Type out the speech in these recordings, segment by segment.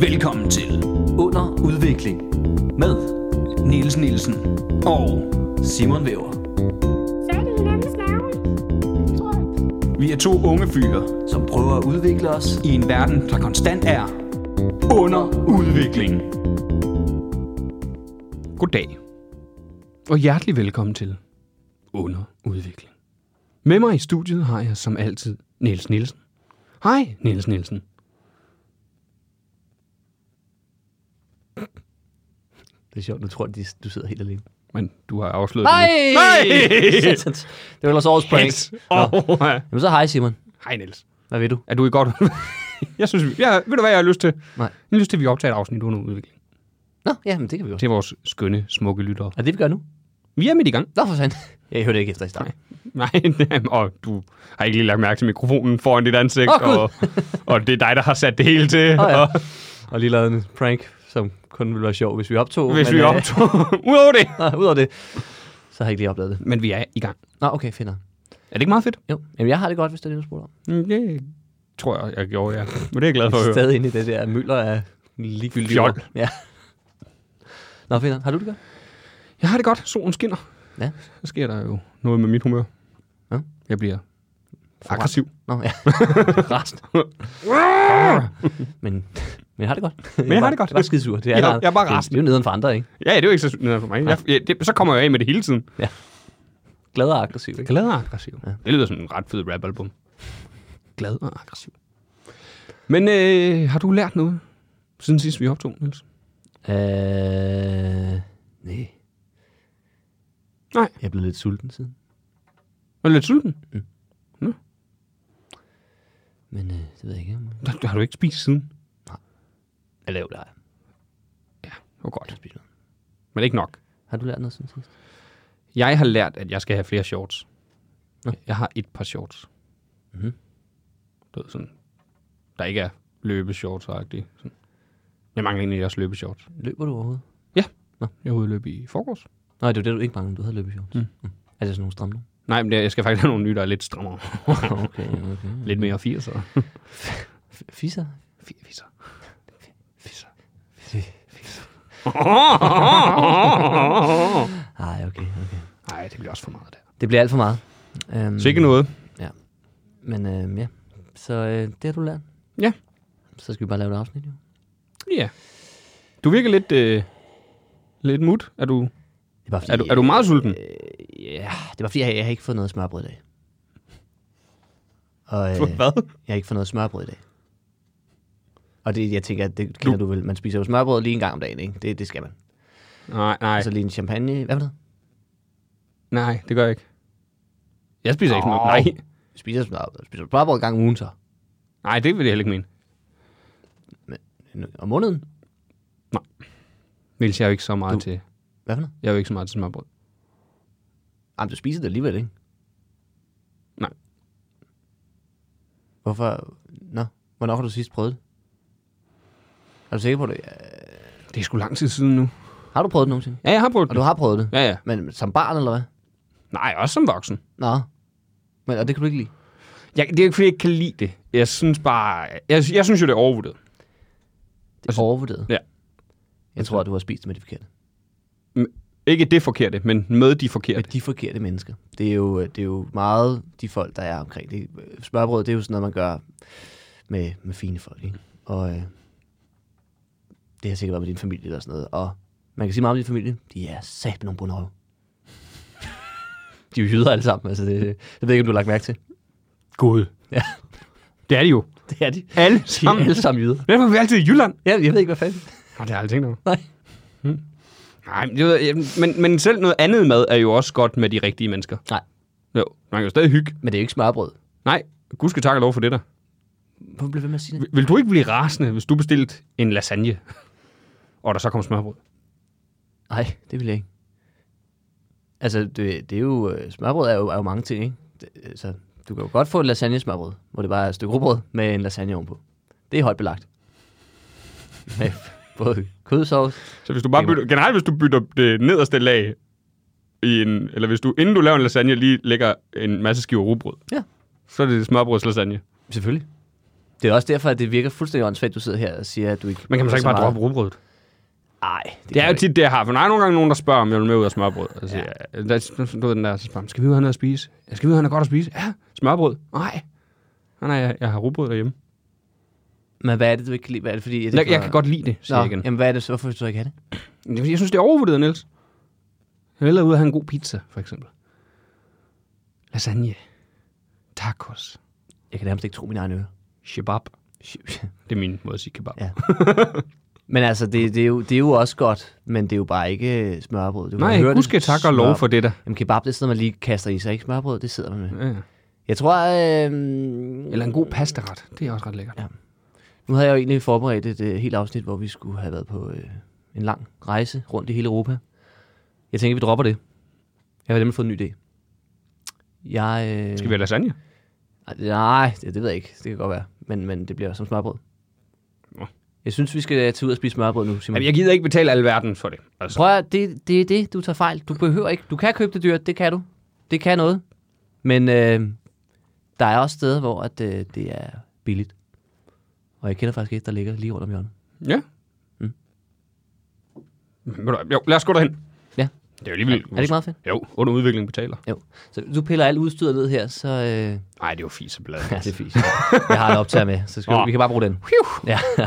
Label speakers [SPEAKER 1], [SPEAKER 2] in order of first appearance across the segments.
[SPEAKER 1] Velkommen til Under Udvikling med Niels Nielsen og Simon Væver.
[SPEAKER 2] Fat i hinandens nerve. Tror jeg.
[SPEAKER 1] Vi er to unge fyre, som prøver at udvikle os i en verden, der konstant er under udvikling. Goddag, og hjertelig velkommen til Under Udvikling. Med mig i studiet har jeg som altid Niels Nielsen. Hej, Niels Nielsen.
[SPEAKER 3] Det er sjovt, nu tror jeg, de, du sidder helt alene.
[SPEAKER 1] Men du har afsløret
[SPEAKER 3] Nej!
[SPEAKER 1] det nu. Nej!
[SPEAKER 3] Satans. det var ellers årets prank.
[SPEAKER 1] Åh, ja.
[SPEAKER 3] Jamen så hej Simon.
[SPEAKER 1] Hej Niels.
[SPEAKER 3] Hvad ved du?
[SPEAKER 1] Er du i godt? jeg synes, vi- jeg, ved du hvad, jeg har lyst til?
[SPEAKER 3] Nej.
[SPEAKER 1] Jeg har lyst til, at vi optager et afsnit under udvikling.
[SPEAKER 3] Nå, ja, men det kan vi godt.
[SPEAKER 1] Til vores skønne, smukke lyttere.
[SPEAKER 3] Er det, vi gør nu?
[SPEAKER 1] Vi er midt i gang.
[SPEAKER 3] Nå, for fanden. Jeg hørte ikke efter i starten.
[SPEAKER 1] Nej, jamen, og du har ikke lige lagt mærke til mikrofonen foran dit ansigt.
[SPEAKER 3] Åh, Gud.
[SPEAKER 1] og, og det er dig, der har sat det hele til.
[SPEAKER 3] Åh, ja.
[SPEAKER 1] og,
[SPEAKER 3] Og lige lavet en prank, som kun ville være sjov, hvis vi optog.
[SPEAKER 1] hvis
[SPEAKER 3] men,
[SPEAKER 1] vi
[SPEAKER 3] øh,
[SPEAKER 1] optog ud over det.
[SPEAKER 3] Nå, Udover det, så har jeg ikke lige opdaget det.
[SPEAKER 1] Men vi er i gang.
[SPEAKER 3] Nå, okay, finder.
[SPEAKER 1] Er det ikke meget fedt?
[SPEAKER 3] Jo, jamen jeg har det godt, hvis det er det, du spurgte om.
[SPEAKER 1] Mm, Det tror jeg, jeg gjorde, ja. Men det er jeg glad for at høre.
[SPEAKER 3] Stadig inde i det der mylder af ligegyldige
[SPEAKER 1] Fjol.
[SPEAKER 3] ord. Ja. Nå, finder. Har du det godt?
[SPEAKER 1] Jeg har det godt. Solen skinner.
[SPEAKER 3] Ja.
[SPEAKER 1] Så sker der jo noget med mit humør.
[SPEAKER 3] Ja.
[SPEAKER 1] Jeg bliver aggressiv.
[SPEAKER 3] Nå, ja. Rast. men, men jeg har det godt.
[SPEAKER 1] jeg har det godt.
[SPEAKER 3] Jeg er bare skidesur. Det er,
[SPEAKER 1] Jeg-
[SPEAKER 3] der-
[SPEAKER 1] jeg er bare
[SPEAKER 3] det-
[SPEAKER 1] rasende.
[SPEAKER 3] Det er jo nederen for andre, ikke?
[SPEAKER 1] Ja, det er jo ikke så synd for mig. Jeg, jeg, det, så kommer jeg af med det hele tiden.
[SPEAKER 3] Glad og aggressiv, ikke?
[SPEAKER 1] Glad og aggressiv. Ja.
[SPEAKER 3] Ja.
[SPEAKER 1] Det lyder som en ret fed rapalbum. Glad og aggressiv. Men øh, har du lært noget siden sidst vi optog, Niels?
[SPEAKER 3] Øh, nej.
[SPEAKER 1] Nej.
[SPEAKER 3] Jeg er blevet lidt sulten siden.
[SPEAKER 1] Er du lidt sulten?
[SPEAKER 3] Men øh, det ved jeg ikke. om-
[SPEAKER 1] Der, der har du ikke spist siden.
[SPEAKER 3] Eller jo, det har jeg.
[SPEAKER 1] Det var godt,
[SPEAKER 3] Jeg spiser noget.
[SPEAKER 1] men ikke nok.
[SPEAKER 3] Har du lært noget siden sidst?
[SPEAKER 1] Jeg har lært, at jeg skal have flere shorts.
[SPEAKER 3] Nå.
[SPEAKER 1] Jeg har et par shorts.
[SPEAKER 3] Mhm.
[SPEAKER 1] Du ved, sådan, der ikke er løbeshorts -agtige. Sådan. Jeg mangler egentlig også løbeshorts.
[SPEAKER 3] Løber du overhovedet?
[SPEAKER 1] Jeg er ude at løbe i forgårs.
[SPEAKER 3] Nej, det var det, du ikke manglede. Du havde løbeshorts.
[SPEAKER 1] Mm.
[SPEAKER 3] Mm. Mm. Er det sådan nogle stramme nu?
[SPEAKER 1] Nej, men det- jeg skal faktisk have nogle nye, der er lidt strammere.
[SPEAKER 3] okay, okay.
[SPEAKER 1] lidt mere 80'er.
[SPEAKER 3] F- Fisser?
[SPEAKER 1] F- Fisser. Fisser.
[SPEAKER 3] Nej, okay, okay.
[SPEAKER 1] Nej, det bliver også for meget der.
[SPEAKER 3] Det bliver alt for meget. Um,
[SPEAKER 1] Så ikke noget.
[SPEAKER 3] Men øh, ja, så øh, det har du lært.
[SPEAKER 1] Ja.
[SPEAKER 3] Så skal vi bare lave et afsnit, jo.
[SPEAKER 1] Ja. Du virker lidt, øh, lidt mut. Er du,
[SPEAKER 3] Det er, bare, fordi,
[SPEAKER 1] er, du, er du meget sulten?
[SPEAKER 3] Øh, ja, det var fordi, jeg, jeg har ikke fået noget smørbrød i dag. Og, øh,
[SPEAKER 1] Hvad?
[SPEAKER 3] Jeg har ikke fået noget smørbrød i dag. Og det, jeg tænker, det kender du, vel. Man spiser jo smørbrød lige en gang om dagen, ikke? Det, det skal man. Ej.
[SPEAKER 1] Nej, nej,
[SPEAKER 3] Og så lige en champagne. Hvad for noget?
[SPEAKER 1] nej, det gør jeg ikke. Jeg spiser ikke smør.
[SPEAKER 3] Åh.
[SPEAKER 1] Nej,
[SPEAKER 3] Spiser smørbrød. Spiser du smørbrød en gang om ugen så?
[SPEAKER 1] nej, det vil jeg heller ikke mene.
[SPEAKER 3] En- Om måneden?
[SPEAKER 1] Niels, jeg er jo ikke så meget
[SPEAKER 3] Du-
[SPEAKER 1] til.
[SPEAKER 3] Hvad for noget?
[SPEAKER 1] Jeg er jo ikke så meget til smørbrød.
[SPEAKER 3] Jamen, du spiser det alligevel, ikke?
[SPEAKER 1] Nej.
[SPEAKER 3] Hvorfor? Nå, hvornår har du sidst prøvet det? Er du sikker på det? Ja.
[SPEAKER 1] Det er sgu lang tid siden nu.
[SPEAKER 3] Har du prøvet det nogensinde?
[SPEAKER 1] Ja, jeg har prøvet
[SPEAKER 3] Og
[SPEAKER 1] det.
[SPEAKER 3] du har prøvet det?
[SPEAKER 1] Ja, ja.
[SPEAKER 3] Men som barn, eller hvad?
[SPEAKER 1] Nej, også som voksen.
[SPEAKER 3] Nå. Men, og det kan du ikke lide?
[SPEAKER 1] Jeg, det er jo ikke, fordi jeg ikke kan lide det. Jeg synes bare... Jeg, jeg synes jo, det er overvurderet.
[SPEAKER 3] Det er
[SPEAKER 1] Altså,
[SPEAKER 3] altså, overvurderet.
[SPEAKER 1] ja.
[SPEAKER 3] Jeg tror, at du har spist med det forkerte.
[SPEAKER 1] Ikke det forkerte, men med de forkerte.
[SPEAKER 3] med de forkerte mennesker. Det er, jo, det er jo meget de folk, der er omkring det. Smørbrød, det er jo sådan noget, man gør med, med fine folk, ikke? Og øh, det har sikkert været med din familie eller sådan noget. Og man kan sige meget om din familie, de er sat nogle bonøve. De er jo jyder alle sammen, altså det, det ved jeg ikke, om du har lagt mærke til.
[SPEAKER 1] Gud.
[SPEAKER 3] Ja.
[SPEAKER 1] Det er det jo.
[SPEAKER 3] Det er de.
[SPEAKER 1] Alle
[SPEAKER 3] De er
[SPEAKER 1] sammen.
[SPEAKER 3] alle sammen jyder.
[SPEAKER 1] Derfor er vi altid i Jylland.
[SPEAKER 3] Ja, jeg ved ikke, hvad fanden.
[SPEAKER 1] Nå, det har jeg aldrig tænkt over.
[SPEAKER 3] Nej.
[SPEAKER 1] Nej, men, det ved jeg- men, men selv noget andet mad er jo også godt med de rigtige mennesker.
[SPEAKER 3] Nej.
[SPEAKER 1] Jo, man kan jo stadig hygge.
[SPEAKER 3] Men det er jo ikke smørbrød.
[SPEAKER 1] Nej, gud skal tak og lov for det der.
[SPEAKER 3] Hvorfor blev jeg ved med at sige det?
[SPEAKER 1] Vil, vil du ikke blive rasende, hvis du bestilte en lasagne, og der så kom smørbrød?
[SPEAKER 3] Nej, det vil jeg ikke. Altså, det, det er jo, øh, smørbrød er jo, er jo mange ting, ikke? Det, altså, du kan jo godt få et lasagne-smørbrød, hvor det bare er et stykke rugbrød med en lasagne ovenpå. Det er højt belagt. Med både kødsovs.
[SPEAKER 1] Så hvis du bare
[SPEAKER 3] Det er-
[SPEAKER 1] bytter, generelt hvis du bytter det nederste lag i en, eller hvis du inden du laver en lasagne lige lægger en masse skiver rugbrød,
[SPEAKER 3] Ja.
[SPEAKER 1] så er det smørbrødslasagne.
[SPEAKER 3] Selvfølgelig. Det er også derfor, at det virker fuldstændig åndssvagt, du sidder her og siger, at du ikke...
[SPEAKER 1] Men kan man så ikke bare droppe rugbrødet?
[SPEAKER 3] Nej,
[SPEAKER 1] Det, det er jo tit det, jeg har. For der er nogle gange nogen, der spørger, om jeg vil med ud af smørbrød. Altså, ja. Ja, der, du ved den der, så spørger man, skal vi ud og have noget at spise? Ja, skal vi ud og have noget godt at spise? Ja, smørbrød. Nej. Nej, nej, jeg, jeg har rugbrød derhjemme.
[SPEAKER 3] Men hvad er det, du ikke kan lide? Hvad er det, fordi... Er det
[SPEAKER 1] Jeg, jeg kan godt lide det,
[SPEAKER 3] Nå,
[SPEAKER 1] siger jeg igen.
[SPEAKER 3] jamen, hvad er det så? Hvorfor vil du så ikke have det?
[SPEAKER 1] Jeg synes, det er overvurderet, Niels. Jeg vil hellere ud og have en god pizza, for eksempel. Lasagne. Tacos.
[SPEAKER 3] Jeg kan nærmest ikke tro mine egne ører.
[SPEAKER 1] Shabab. Det er min måde at sige kebab.
[SPEAKER 3] Ja. Men altså, det, det, er jo, det er jo også godt, men det er jo bare ikke øh, smørbrød. Du kan høre
[SPEAKER 1] Nej,
[SPEAKER 3] det
[SPEAKER 1] husk at takke og lov
[SPEAKER 3] smør-
[SPEAKER 1] for det der.
[SPEAKER 3] Jamen, kebab, det er sådan noget, man lige kaster i sig, ikke? Smørbrød, det sidder man med.
[SPEAKER 1] Ja.
[SPEAKER 3] Jeg tror, øh,
[SPEAKER 1] Eller en god pastaret. Det er også ret lækkert.
[SPEAKER 3] Ja. nu havde jeg jo egentlig forberedt et øh, helt afsnit, hvor vi skulle have været på øh, en lang rejse rundt i hele Europa. Jeg tænker, vi dropper det. Jeg har nemlig fået en ny idé. Jeg, øh,
[SPEAKER 1] Skal vi have lasagne?
[SPEAKER 3] Ej, det- Nej, det, det ved jeg ikke. Det kan godt være. Men, men det bliver som smørbrød.
[SPEAKER 1] Nå.
[SPEAKER 3] Jeg synes, vi skal tage ud og spise smørbrød nu, Simon.
[SPEAKER 1] Jamen, jeg gider ikke betale alverden for det. Altså.
[SPEAKER 3] Prøv at, det, det er det, du tager fejl. Du behøver ikke. Du kan købe det dyrt, det kan du. Det kan noget. Men øh, der er også steder, hvor at, øh, det er billigt. Og jeg kender faktisk et, der ligger lige rundt om hjørnet.
[SPEAKER 1] Ja.
[SPEAKER 3] Mm.
[SPEAKER 1] Men ved du hvad, Jo, lad os gå derhen.
[SPEAKER 3] Ja.
[SPEAKER 1] Det er jo alligevel...
[SPEAKER 3] Er det ikke meget fedt?
[SPEAKER 1] Jo, under udvikling betaler.
[SPEAKER 3] Jo. Så du piller alt udstyret ned her, så... Øh,
[SPEAKER 1] Nej, det er jo fiseblad.
[SPEAKER 3] ja, det er fint. Jeg har en optager med, så skal,
[SPEAKER 1] Nå.
[SPEAKER 3] oh. vi kan bare bruge den. Ja.
[SPEAKER 1] det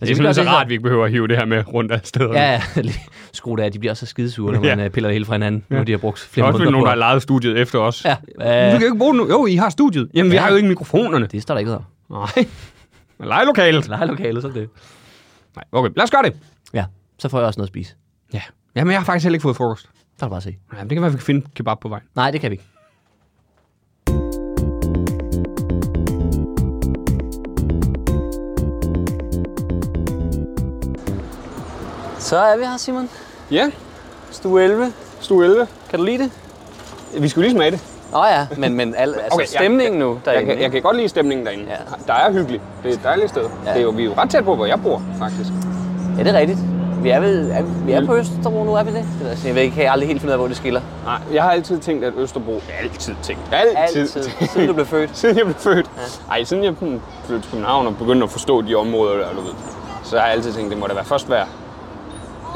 [SPEAKER 1] er simpelthen så rart, at vi ikke behøver at hive det her med rundt af steder.
[SPEAKER 3] Ja, ja. lige- Skru det af. De bliver også så skidesure, når man
[SPEAKER 1] Ja.
[SPEAKER 3] ja. piller det hele fra hinanden, ja. når de har brugt
[SPEAKER 1] Der
[SPEAKER 3] flere
[SPEAKER 1] er også
[SPEAKER 3] måneder
[SPEAKER 1] nogen, der har
[SPEAKER 3] på.
[SPEAKER 1] lejet studiet efter os.
[SPEAKER 3] Ja,
[SPEAKER 1] Men
[SPEAKER 3] øh,
[SPEAKER 1] Vi kan jo ikke bruge det nu. Jo, I har studiet. Jamen, vi
[SPEAKER 3] Ja.
[SPEAKER 1] har jo ikke mikrofonerne.
[SPEAKER 3] det står der ikke noget om.
[SPEAKER 1] Nej. Men lejelokalet.
[SPEAKER 3] Nej, lokalet, så er det.
[SPEAKER 1] Nej, okay. Lad os gøre det.
[SPEAKER 3] Ja, så får jeg også noget at spise.
[SPEAKER 1] Ja. Jamen, jeg har faktisk heller ikke fået frokost.
[SPEAKER 3] Så er det bare at se.
[SPEAKER 1] Jamen, det kan være, at vi kan finde kebab på vejen.
[SPEAKER 3] Nej, det kan vi ikke. Så er vi her, Simon.
[SPEAKER 1] Ja.
[SPEAKER 3] Stue 11.
[SPEAKER 1] Stue 11.
[SPEAKER 3] Kan du lide det?
[SPEAKER 1] Vi skal jo lige smage det.
[SPEAKER 3] Nå ja, men, men al, altså,
[SPEAKER 1] Okay,
[SPEAKER 3] okay,
[SPEAKER 1] jeg-
[SPEAKER 3] stemningen nu derinde.
[SPEAKER 1] Jeg kan, jeg kan godt lide stemningen derinde.
[SPEAKER 3] Ja.
[SPEAKER 1] Der er hyggeligt. Det er et dejligt sted. Det er jo, vi er jo ret tæt på, hvor jeg bor, faktisk.
[SPEAKER 3] ikke? Ja, det er rigtigt. Vi er, ved, er, vi
[SPEAKER 1] Mm.
[SPEAKER 3] er på Østerbro nu, er vi det? det ved jeg, jeg ved ikke, jeg kan aldrig helt finde ud af, hvor det skiller.
[SPEAKER 1] Nej, jeg har altid tænkt, at Østerbro... Altid tænkt. Altid.
[SPEAKER 3] Altid, siden du blev født.
[SPEAKER 1] siden jeg blev født. Ja. Ej, siden jeg hmm, flyttede til København og begyndte at forstå de områder der, du ved. Så har jeg altid tænkt, det må da være først være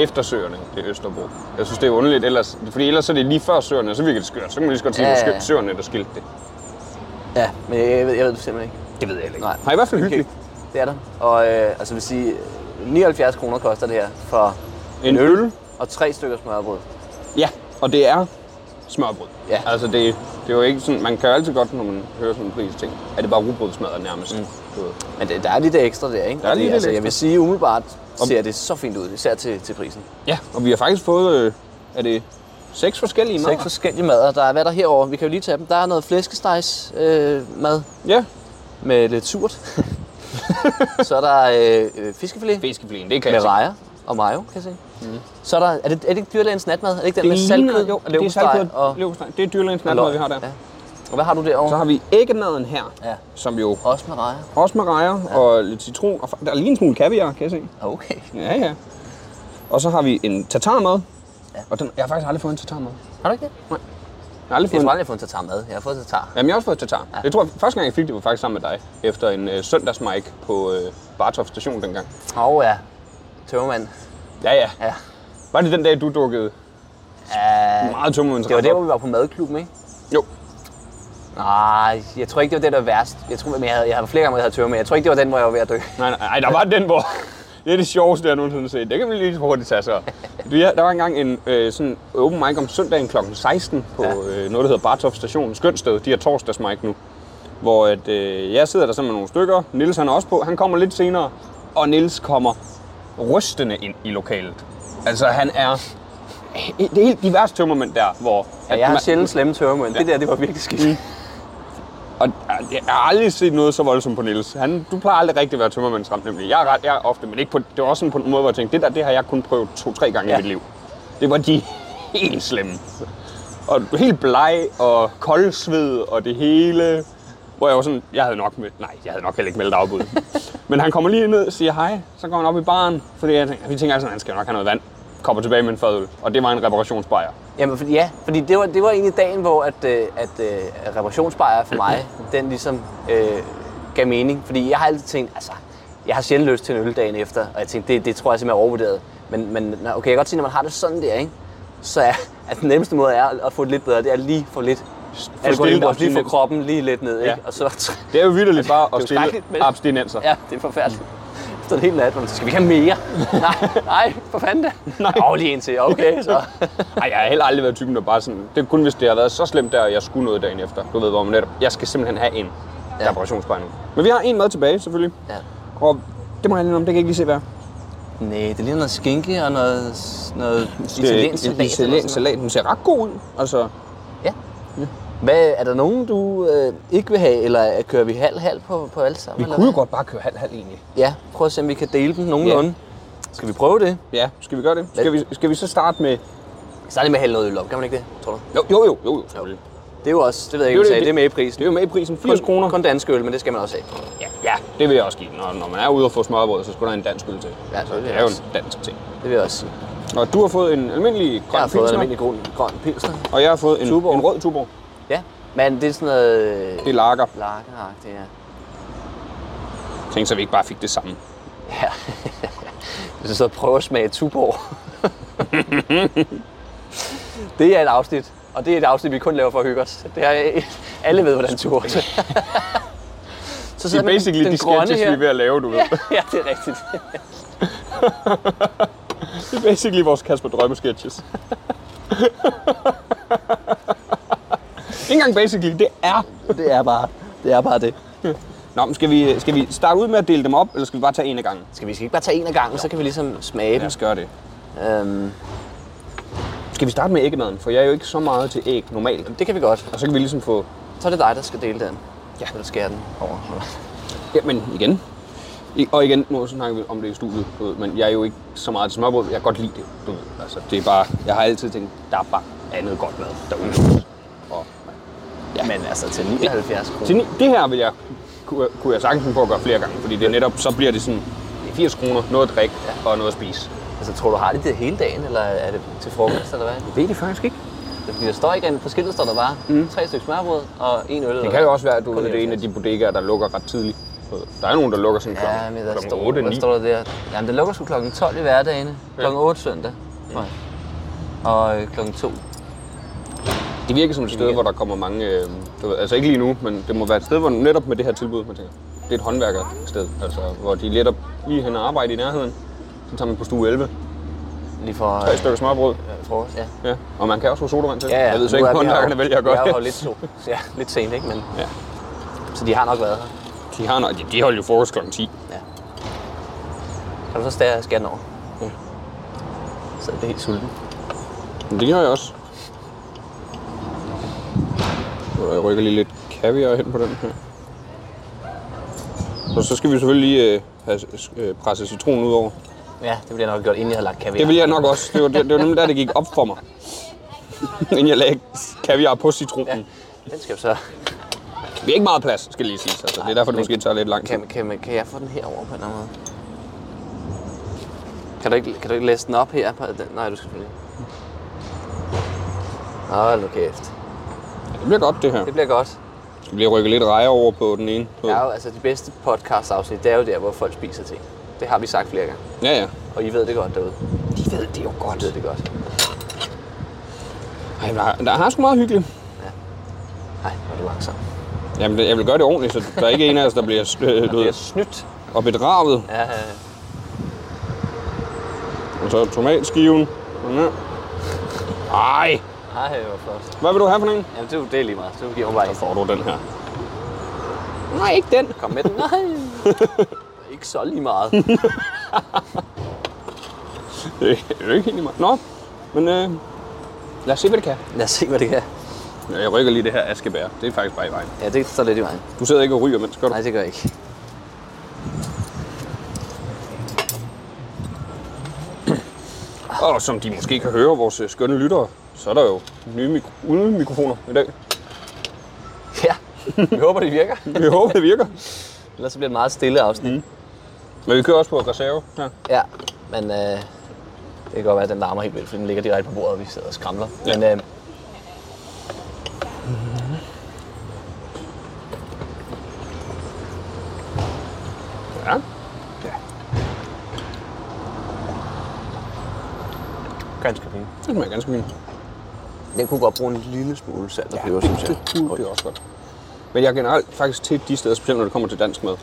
[SPEAKER 1] eftersøerne i Østerbro. Jeg synes, det er underligt ellers. Fordi ellers så er det lige før søerne, og så virker det skørt. Så kan man lige så godt sige,
[SPEAKER 3] Ja,
[SPEAKER 1] at det
[SPEAKER 3] ja,
[SPEAKER 1] var
[SPEAKER 3] ja.
[SPEAKER 1] skø- søerne, der skilte det.
[SPEAKER 3] Ja, men jeg ved, jeg ved det simpelthen ikke.
[SPEAKER 1] Det ved jeg ikke.
[SPEAKER 3] Nej.
[SPEAKER 1] Har i hvert fald hyggeligt.
[SPEAKER 3] Det er der. Og øh, altså vil sige, 79 kroner koster det her for
[SPEAKER 1] En øl.
[SPEAKER 3] og tre stykker smørbrød.
[SPEAKER 1] Ja, og det er smørbrød.
[SPEAKER 3] Ja.
[SPEAKER 1] Altså, det, det er jo ikke sådan, man kan jo altid godt, når man hører sådan en pris, tænke, at det bare rugbrødsmadder nærmest. Mm. Du ved.
[SPEAKER 3] Men det, der er lidt ekstra der, ikke?
[SPEAKER 1] Der er
[SPEAKER 3] Og det,
[SPEAKER 1] lige lidt
[SPEAKER 3] altså,
[SPEAKER 1] ekstra.
[SPEAKER 3] jeg vil sige, umiddelbart ser det så fint ud, især til, til prisen.
[SPEAKER 1] Ja, og vi har faktisk fået, øh, er det seks forskellige mader?
[SPEAKER 3] Seks forskellige mader. Der er hvad der er herovre. Vi kan jo lige tage dem. Der er noget flæskestegs øh, mad
[SPEAKER 1] Ja.
[SPEAKER 3] med lidt surt. så er der øh, øh, fiskefilet
[SPEAKER 1] Fiskeflien, det kan
[SPEAKER 3] med
[SPEAKER 1] jeg
[SPEAKER 3] rejer og mayo, kan jeg se. Mm. Så er der, er det, er det ikke dyrlægens natmad? Er det ikke den med saltkød
[SPEAKER 1] jo,
[SPEAKER 3] og
[SPEAKER 1] det er
[SPEAKER 3] leverpostej
[SPEAKER 1] saltkød og
[SPEAKER 3] og,
[SPEAKER 1] leverpostej. Det er dyrlægens
[SPEAKER 3] og
[SPEAKER 1] natmad, vi har der.
[SPEAKER 3] Ja. Og hvad har du derovre?
[SPEAKER 1] Så har vi æggenaden her,
[SPEAKER 3] Ja,
[SPEAKER 1] som jo
[SPEAKER 3] også med rejer.
[SPEAKER 1] også med rejer og lidt citron. Og fa- der er lige en smule kaviar, kan jeg se.
[SPEAKER 3] Ah, Okay.
[SPEAKER 1] Ja, ja. Og så har vi en tatarmad.
[SPEAKER 3] Ja.
[SPEAKER 1] Og den, jeg har faktisk aldrig fået en tatarmad.
[SPEAKER 3] Har du ikke det?
[SPEAKER 1] Jeg har aldrig fået
[SPEAKER 3] Jeg tror
[SPEAKER 1] en...
[SPEAKER 3] aldrig, jeg har fået tatar med. Jeg har fået tatar.
[SPEAKER 1] Jamen, jeg har også fået tatar. Ja. Jeg tror, første gang jeg fik det var faktisk sammen med dig. Efter en øh, søndagsmike på øh, Bartov station dengang.
[SPEAKER 3] Åh oh, ja. Tømmermand.
[SPEAKER 1] Ja, ja.
[SPEAKER 3] Ja.
[SPEAKER 1] Var det den dag, du dukkede
[SPEAKER 3] Uh,
[SPEAKER 1] meget tunge
[SPEAKER 3] det var der, hvor vi var på madklubben, ikke?
[SPEAKER 1] Jo.
[SPEAKER 3] Nej, jeg tror ikke, det var det, der var værst. Jeg tror, men jeg havde, jeg havde flere gange, hvor jeg havde tømmermand. Jeg tror ikke, det var den, hvor jeg var ved at dø.
[SPEAKER 1] Nej, nej, nej, der var den, hvor... Det er det sjoveste, jeg nogensinde har set. Det kan vi lige så hurtigt tage så. Du, ja, Der var engang en øh, sådan open mic om søndagen kl. 16 på ja.
[SPEAKER 3] Ja.
[SPEAKER 1] øh, noget, der hedder Bartov Station. Skønsted. De har torsdags mic nu. Hvor at, øh, jeg sidder der sammen med nogle stykker. Nils han er også på. Han kommer lidt senere. Og Nils kommer rystende ind i lokalet. Altså han er... Det er helt de værste tømmermænd der, hvor...
[SPEAKER 3] Ja,
[SPEAKER 1] at
[SPEAKER 3] jeg har
[SPEAKER 1] man- Mm.
[SPEAKER 3] sjældent slemme tømmermænd. Det der, det var virkelig skidt.
[SPEAKER 1] Og jeg har aldrig set noget så voldsomt på Niels. Han, du plejer aldrig rigtig at være tømmermandsramt, nemlig. Jeg er, ret, jeg er ofte, men ikke på, det var også sådan på en måde, hvor jeg tænkte, det der, det har jeg kun prøvet to-tre gange ja. i
[SPEAKER 3] Ja.
[SPEAKER 1] mit liv. Det var de helt slemme. Og helt bleg og koldsved og det hele. Hvor jeg var sådan, jeg havde nok med, nej, jeg havde nok heller ikke meldt afbud. men han kommer lige ned og siger hej, så går han op i baren, fordi jeg tænker, vi tænker altså, han skal nok have noget vand. Kommer tilbage med en fadøl, og det var en reparationsbajer.
[SPEAKER 3] Jamen, fordi, ja, fordi det var, det var egentlig dagen, hvor at, øh, at, øh, reparationsbejer for mig, den ligesom øh, gav mening. Fordi jeg har altid tænkt, altså, jeg har sjældent lyst til en øl dagen efter, og jeg tænkte, det, det tror jeg simpelthen er overvurderet. Men, men nå, okay, jeg kan godt se, når man har det sådan der, ikke? så er at den nemmeste måde er at få det lidt bedre, det er lige at få lidt alkohol,
[SPEAKER 1] stillet
[SPEAKER 3] og lige få
[SPEAKER 1] abstinens.
[SPEAKER 3] kroppen lige lidt ned, ikke?
[SPEAKER 1] Ja.
[SPEAKER 3] og så
[SPEAKER 1] Det er jo vitterligt bare
[SPEAKER 3] jo
[SPEAKER 1] at stille
[SPEAKER 3] skrækkeligt, men-
[SPEAKER 1] abstinenser.
[SPEAKER 3] Ja, det er forfærdeligt. Efter en hel nat, hvor man siger, skal vi ikke have mere? nej, nej, for fanden da. Nej. Og lige en til, okay, så.
[SPEAKER 1] Ej, jeg har heller aldrig været typen, der bare sådan... Det er kun, hvis det har været så slemt der, og jeg skulle noget dagen efter. Du ved, hvor man netop... Jeg skal simpelthen have en
[SPEAKER 3] Ja.
[SPEAKER 1] ja. reparationsbejning. Men vi har en mad tilbage, selvfølgelig.
[SPEAKER 3] ja.
[SPEAKER 1] Og det må jeg lige om, det kan jeg ikke lige se, hvad er.
[SPEAKER 3] Nej, det ligner noget skinke og noget, noget italiensk
[SPEAKER 1] Det-
[SPEAKER 3] salat. eller sådan
[SPEAKER 1] Italiensk
[SPEAKER 3] noget.
[SPEAKER 1] salat. Den ser ret god ud. Altså,
[SPEAKER 3] Ja. Hvad, er der nogen, du øh, ikke vil have, eller øh, kører vi halv-halv på, på alle sammen?
[SPEAKER 1] vi
[SPEAKER 3] eller
[SPEAKER 1] kunne jo
[SPEAKER 3] hvad?
[SPEAKER 1] godt bare køre halv-halv egentlig.
[SPEAKER 3] Ja, prøv at se, om vi kan dele dem nogenlunde. Skal vi prøve det?
[SPEAKER 1] Ja, skal vi gøre det? Skal vi, skal vi så starte med...
[SPEAKER 3] Vi starter med at hælde noget øl op, kan man ikke det, tror du?
[SPEAKER 1] Jo, jo, jo, jo, jo selvfølgelig.
[SPEAKER 3] Det er jo også, det ved jeg
[SPEAKER 1] Det
[SPEAKER 3] ikke,
[SPEAKER 1] er
[SPEAKER 3] om
[SPEAKER 1] det-
[SPEAKER 3] jeg sagde, det er med i
[SPEAKER 1] Det
[SPEAKER 3] prisen.
[SPEAKER 1] er jo med i prisen. 80
[SPEAKER 3] Kun-
[SPEAKER 1] kroner.
[SPEAKER 3] Kun dansk øl, men det skal man også have.
[SPEAKER 1] Ja, ja, det vil jeg også give. den. Når, når man er ude og få smørbrød, så skulle der en dansk øl til.
[SPEAKER 3] Ja, så
[SPEAKER 1] Så
[SPEAKER 3] vil
[SPEAKER 1] det
[SPEAKER 3] jeg
[SPEAKER 1] er jo
[SPEAKER 3] også.
[SPEAKER 1] en dansk ting.
[SPEAKER 3] Det vil jeg også sige.
[SPEAKER 1] Og du har fået en almindelig grøn
[SPEAKER 3] Jeg har fået en
[SPEAKER 1] pilsner,
[SPEAKER 3] almindelig grøn, grøn pilsner.
[SPEAKER 1] og jeg har fået en,
[SPEAKER 3] Tuborg.
[SPEAKER 1] en rød tuborg.
[SPEAKER 3] Ja, men det er sådan noget... øh,
[SPEAKER 1] Det er lager.
[SPEAKER 3] Lageragtigt, ja.
[SPEAKER 1] Tænk så, vi ikke bare fik det samme.
[SPEAKER 3] ja. Jeg synes, at prøve at smage Tuborg. det er et afsnit, og det er et afsnit, vi kun laver for at hygge os. Det er, øh, alle ved, hvordan Tuborg er. Så
[SPEAKER 1] Det
[SPEAKER 3] sidder
[SPEAKER 1] er
[SPEAKER 3] man med
[SPEAKER 1] basically de sketches, vi er ved at lave, du ved.
[SPEAKER 3] Ja, det er rigtigt.
[SPEAKER 1] Det er basically vores Kasper Drømme sketches. Ikke engang basically, det er.
[SPEAKER 3] Det er bare det. Er bare det.
[SPEAKER 1] Nå, men skal vi, skal vi starte ud med at dele dem op, eller skal vi bare tage en af gangen?
[SPEAKER 3] Skal vi skal vi ikke bare tage en af gangen, så kan vi ligesom smage
[SPEAKER 1] Lad
[SPEAKER 3] dem.
[SPEAKER 1] os gøre det.
[SPEAKER 3] Øhm,
[SPEAKER 1] Skal vi starte med æggemaden? For jeg er jo ikke så meget til æg normalt.
[SPEAKER 3] det kan vi godt.
[SPEAKER 1] Og så kan vi ligesom få...
[SPEAKER 3] Så er det dig, der skal dele den. Ja. Eller skære den over.
[SPEAKER 1] Jamen, igen. I- Og igen, nu snakker vi om det i studiet, du ved, men jeg er jo ikke så meget til smørbrød. Jeg kan godt lide det, du ved. Altså, det er bare... Jeg har altid tænkt, der er bare andet godt mad derude. Og
[SPEAKER 3] Ja. Men altså til 79 kroner.
[SPEAKER 1] Til ni- det her vil jeg, kunne, kunne jeg sagtens finde på at gøre flere gange, fordi det er netop, så bliver det sådan det er 80 kroner, noget at drikke og noget at spise.
[SPEAKER 3] Altså, tror du, har de det hele dagen, eller er det til frokost, eller hvad?
[SPEAKER 1] Det er det faktisk ikke.
[SPEAKER 3] Det er fordi, der står ikke andet. På skiltet står der bare mm. tre stykker smørbrød og en øl.
[SPEAKER 1] Det kan jo også være, at du
[SPEAKER 3] Kun
[SPEAKER 1] ved, det er en af
[SPEAKER 3] 79.
[SPEAKER 1] de bodegaer, der lukker ret tidligt. Der er nogen, der lukker sådan
[SPEAKER 3] Ja, men der
[SPEAKER 1] klokken
[SPEAKER 3] står,
[SPEAKER 1] 8,
[SPEAKER 3] der
[SPEAKER 1] 9.
[SPEAKER 3] står der der. Jamen, det lukker sgu klokken 12 i hverdagene. Klokken 8 søndag, tror jeg. Og øh, klokken 2.
[SPEAKER 1] Det virker som et sted, hvor der kommer mange, øh, du ved, altså ikke lige nu, men det må være et sted, hvor netop med det her tilbud, man tænker, det er et håndværkersted, altså hvor de netop lige hen og arbejde i nærheden. Så tager man på stue 11,
[SPEAKER 3] Lige for
[SPEAKER 1] tre stykker smørbrød,
[SPEAKER 3] øh, frokost, ja.
[SPEAKER 1] ja. og man kan også få sodavand til.
[SPEAKER 3] Ja, ja.
[SPEAKER 1] Jeg ved så
[SPEAKER 3] Nu
[SPEAKER 1] ikke,
[SPEAKER 3] er
[SPEAKER 1] hvor
[SPEAKER 3] vi her jo-
[SPEAKER 1] håndværkerne vælger at gøre
[SPEAKER 3] Vi er
[SPEAKER 1] det.
[SPEAKER 3] jo lidt, så, ja, lidt sent, ikke? Men,
[SPEAKER 1] Ja.
[SPEAKER 3] Så de har nok været her.
[SPEAKER 1] De, har, noget- de- de holder jo frokost kl. 10.
[SPEAKER 3] Ja. Kan du så stære skære den over? Ja. Så er det helt sulten.
[SPEAKER 1] Men det gjorde jeg også. Og Jeg rykker lige lidt kaviar hen på den her. Og så skal vi selvfølgelig lige øh, have øh, presset citronen ud over.
[SPEAKER 3] Ja, det bliver nok gjort, inden jeg har lagt kaviar.
[SPEAKER 1] Det vil jeg nok også. Det var, det, det var nemlig der, det gik op for mig. Inden jeg lagde kaviar på citronen.
[SPEAKER 3] Mm. Den skal jo så...
[SPEAKER 1] Vi har ikke meget plads, skal lige sige. Altså, det er derfor, det måske tager lidt lang tid.
[SPEAKER 3] Kan, kan, kan jeg få den herover på en eller anden måde? Kan du ikke, kan du ikke læse den op her? På den? Nej, du skal selvfølgelig ikke. Hold nu kæft.
[SPEAKER 1] Det bliver godt, det her.
[SPEAKER 3] Det bliver godt.
[SPEAKER 1] Skal vi lige rykke lidt rejer over på den ene?
[SPEAKER 3] Der er jo, altså, de bedste podcast-afsnit, det er jo der, hvor folk spiser ting. Det har vi sagt flere gange.
[SPEAKER 1] Ja, ja.
[SPEAKER 3] Og I ved det godt derude. De ved det jo godt. De ved det godt.
[SPEAKER 1] Ej, der, er- der har sgu meget hyggeligt.
[SPEAKER 3] Nej, hvor er du langsom.
[SPEAKER 1] Jamen, jeg vil gøre det ordentligt, så der er ikke en af os, der bliver, øh, du
[SPEAKER 3] Det er
[SPEAKER 1] ved,
[SPEAKER 3] snydt.
[SPEAKER 1] og bedraget.
[SPEAKER 3] Ja, ja, ja.
[SPEAKER 1] Og så tomatskiven. Sådan her. Ej,
[SPEAKER 3] Ej, hvor flot.
[SPEAKER 1] hvad vil du have for en?
[SPEAKER 3] Jamen, det er jo det er lige meget. Det giver mig bare en.
[SPEAKER 1] Får du den her? Nej, ikke den.
[SPEAKER 3] Kom med den. Nej. Ikke så lige meget.
[SPEAKER 1] Det er jo ikke helt lige meget. Nå, men øh, lad os se, hvad det kan.
[SPEAKER 3] Lad os se, hvad det kan.
[SPEAKER 1] Jeg rykker lige det her askebær. Det er faktisk bare i vejen.
[SPEAKER 3] Ja, det står lidt i vejen.
[SPEAKER 1] Du sidder ikke og ryger, mens gør du?
[SPEAKER 3] Nej, det gør jeg ikke.
[SPEAKER 1] Og som de måske kan høre, vores øh, skønne lyttere, så er der jo nye mikro- uden mikrofoner i dag.
[SPEAKER 3] Ja, vi håber, det virker.
[SPEAKER 1] Vi håber, det virker.
[SPEAKER 3] Ellers så bliver det meget stille afsnit. Mm.
[SPEAKER 1] Men vi kører også på reserve her.
[SPEAKER 3] Ja, men øh, det kan godt være, at den larmer helt vildt, fordi den ligger direkte på bordet, og vi sidder og skramler. Ja. Men øh,
[SPEAKER 1] Ganske fint. Det smager ganske fint.
[SPEAKER 3] Den kunne godt bruge en lille smule salt og peber, synes jeg.
[SPEAKER 1] det, det, kunne det også godt. Men jeg er generelt faktisk til de steder, specielt når det kommer til dansk mad,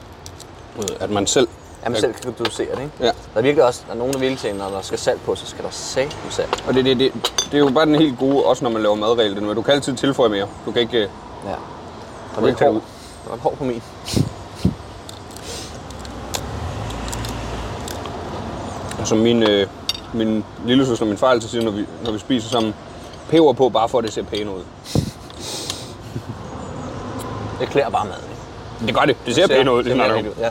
[SPEAKER 1] øh, at man selv...
[SPEAKER 3] Jamen selv kan du se det, ikke?
[SPEAKER 1] Ja.
[SPEAKER 3] Der er virkelig også, der er nogen, der virkelig tænker, når der skal salt på, så skal der salt med salt.
[SPEAKER 1] Og det, det, det, det er jo bare den helt gode, også når man laver madregel, den med, du kan altid tilføje mere. Du kan ikke... øh,
[SPEAKER 3] Ja. Der
[SPEAKER 1] Det
[SPEAKER 3] var lidt
[SPEAKER 1] kan
[SPEAKER 3] hård.
[SPEAKER 1] du.
[SPEAKER 3] Der var lidt hård på min.
[SPEAKER 1] Som min, øh, min lille søster og min far altid siger, når vi, når vi spiser sammen, peber på, bare for at det ser pænt ud.
[SPEAKER 3] Det klæder bare maden, ikke?
[SPEAKER 1] Det gør det. Det ser, pænt ud. Det,
[SPEAKER 3] mere
[SPEAKER 1] det,
[SPEAKER 3] rigtigt ud, Ja.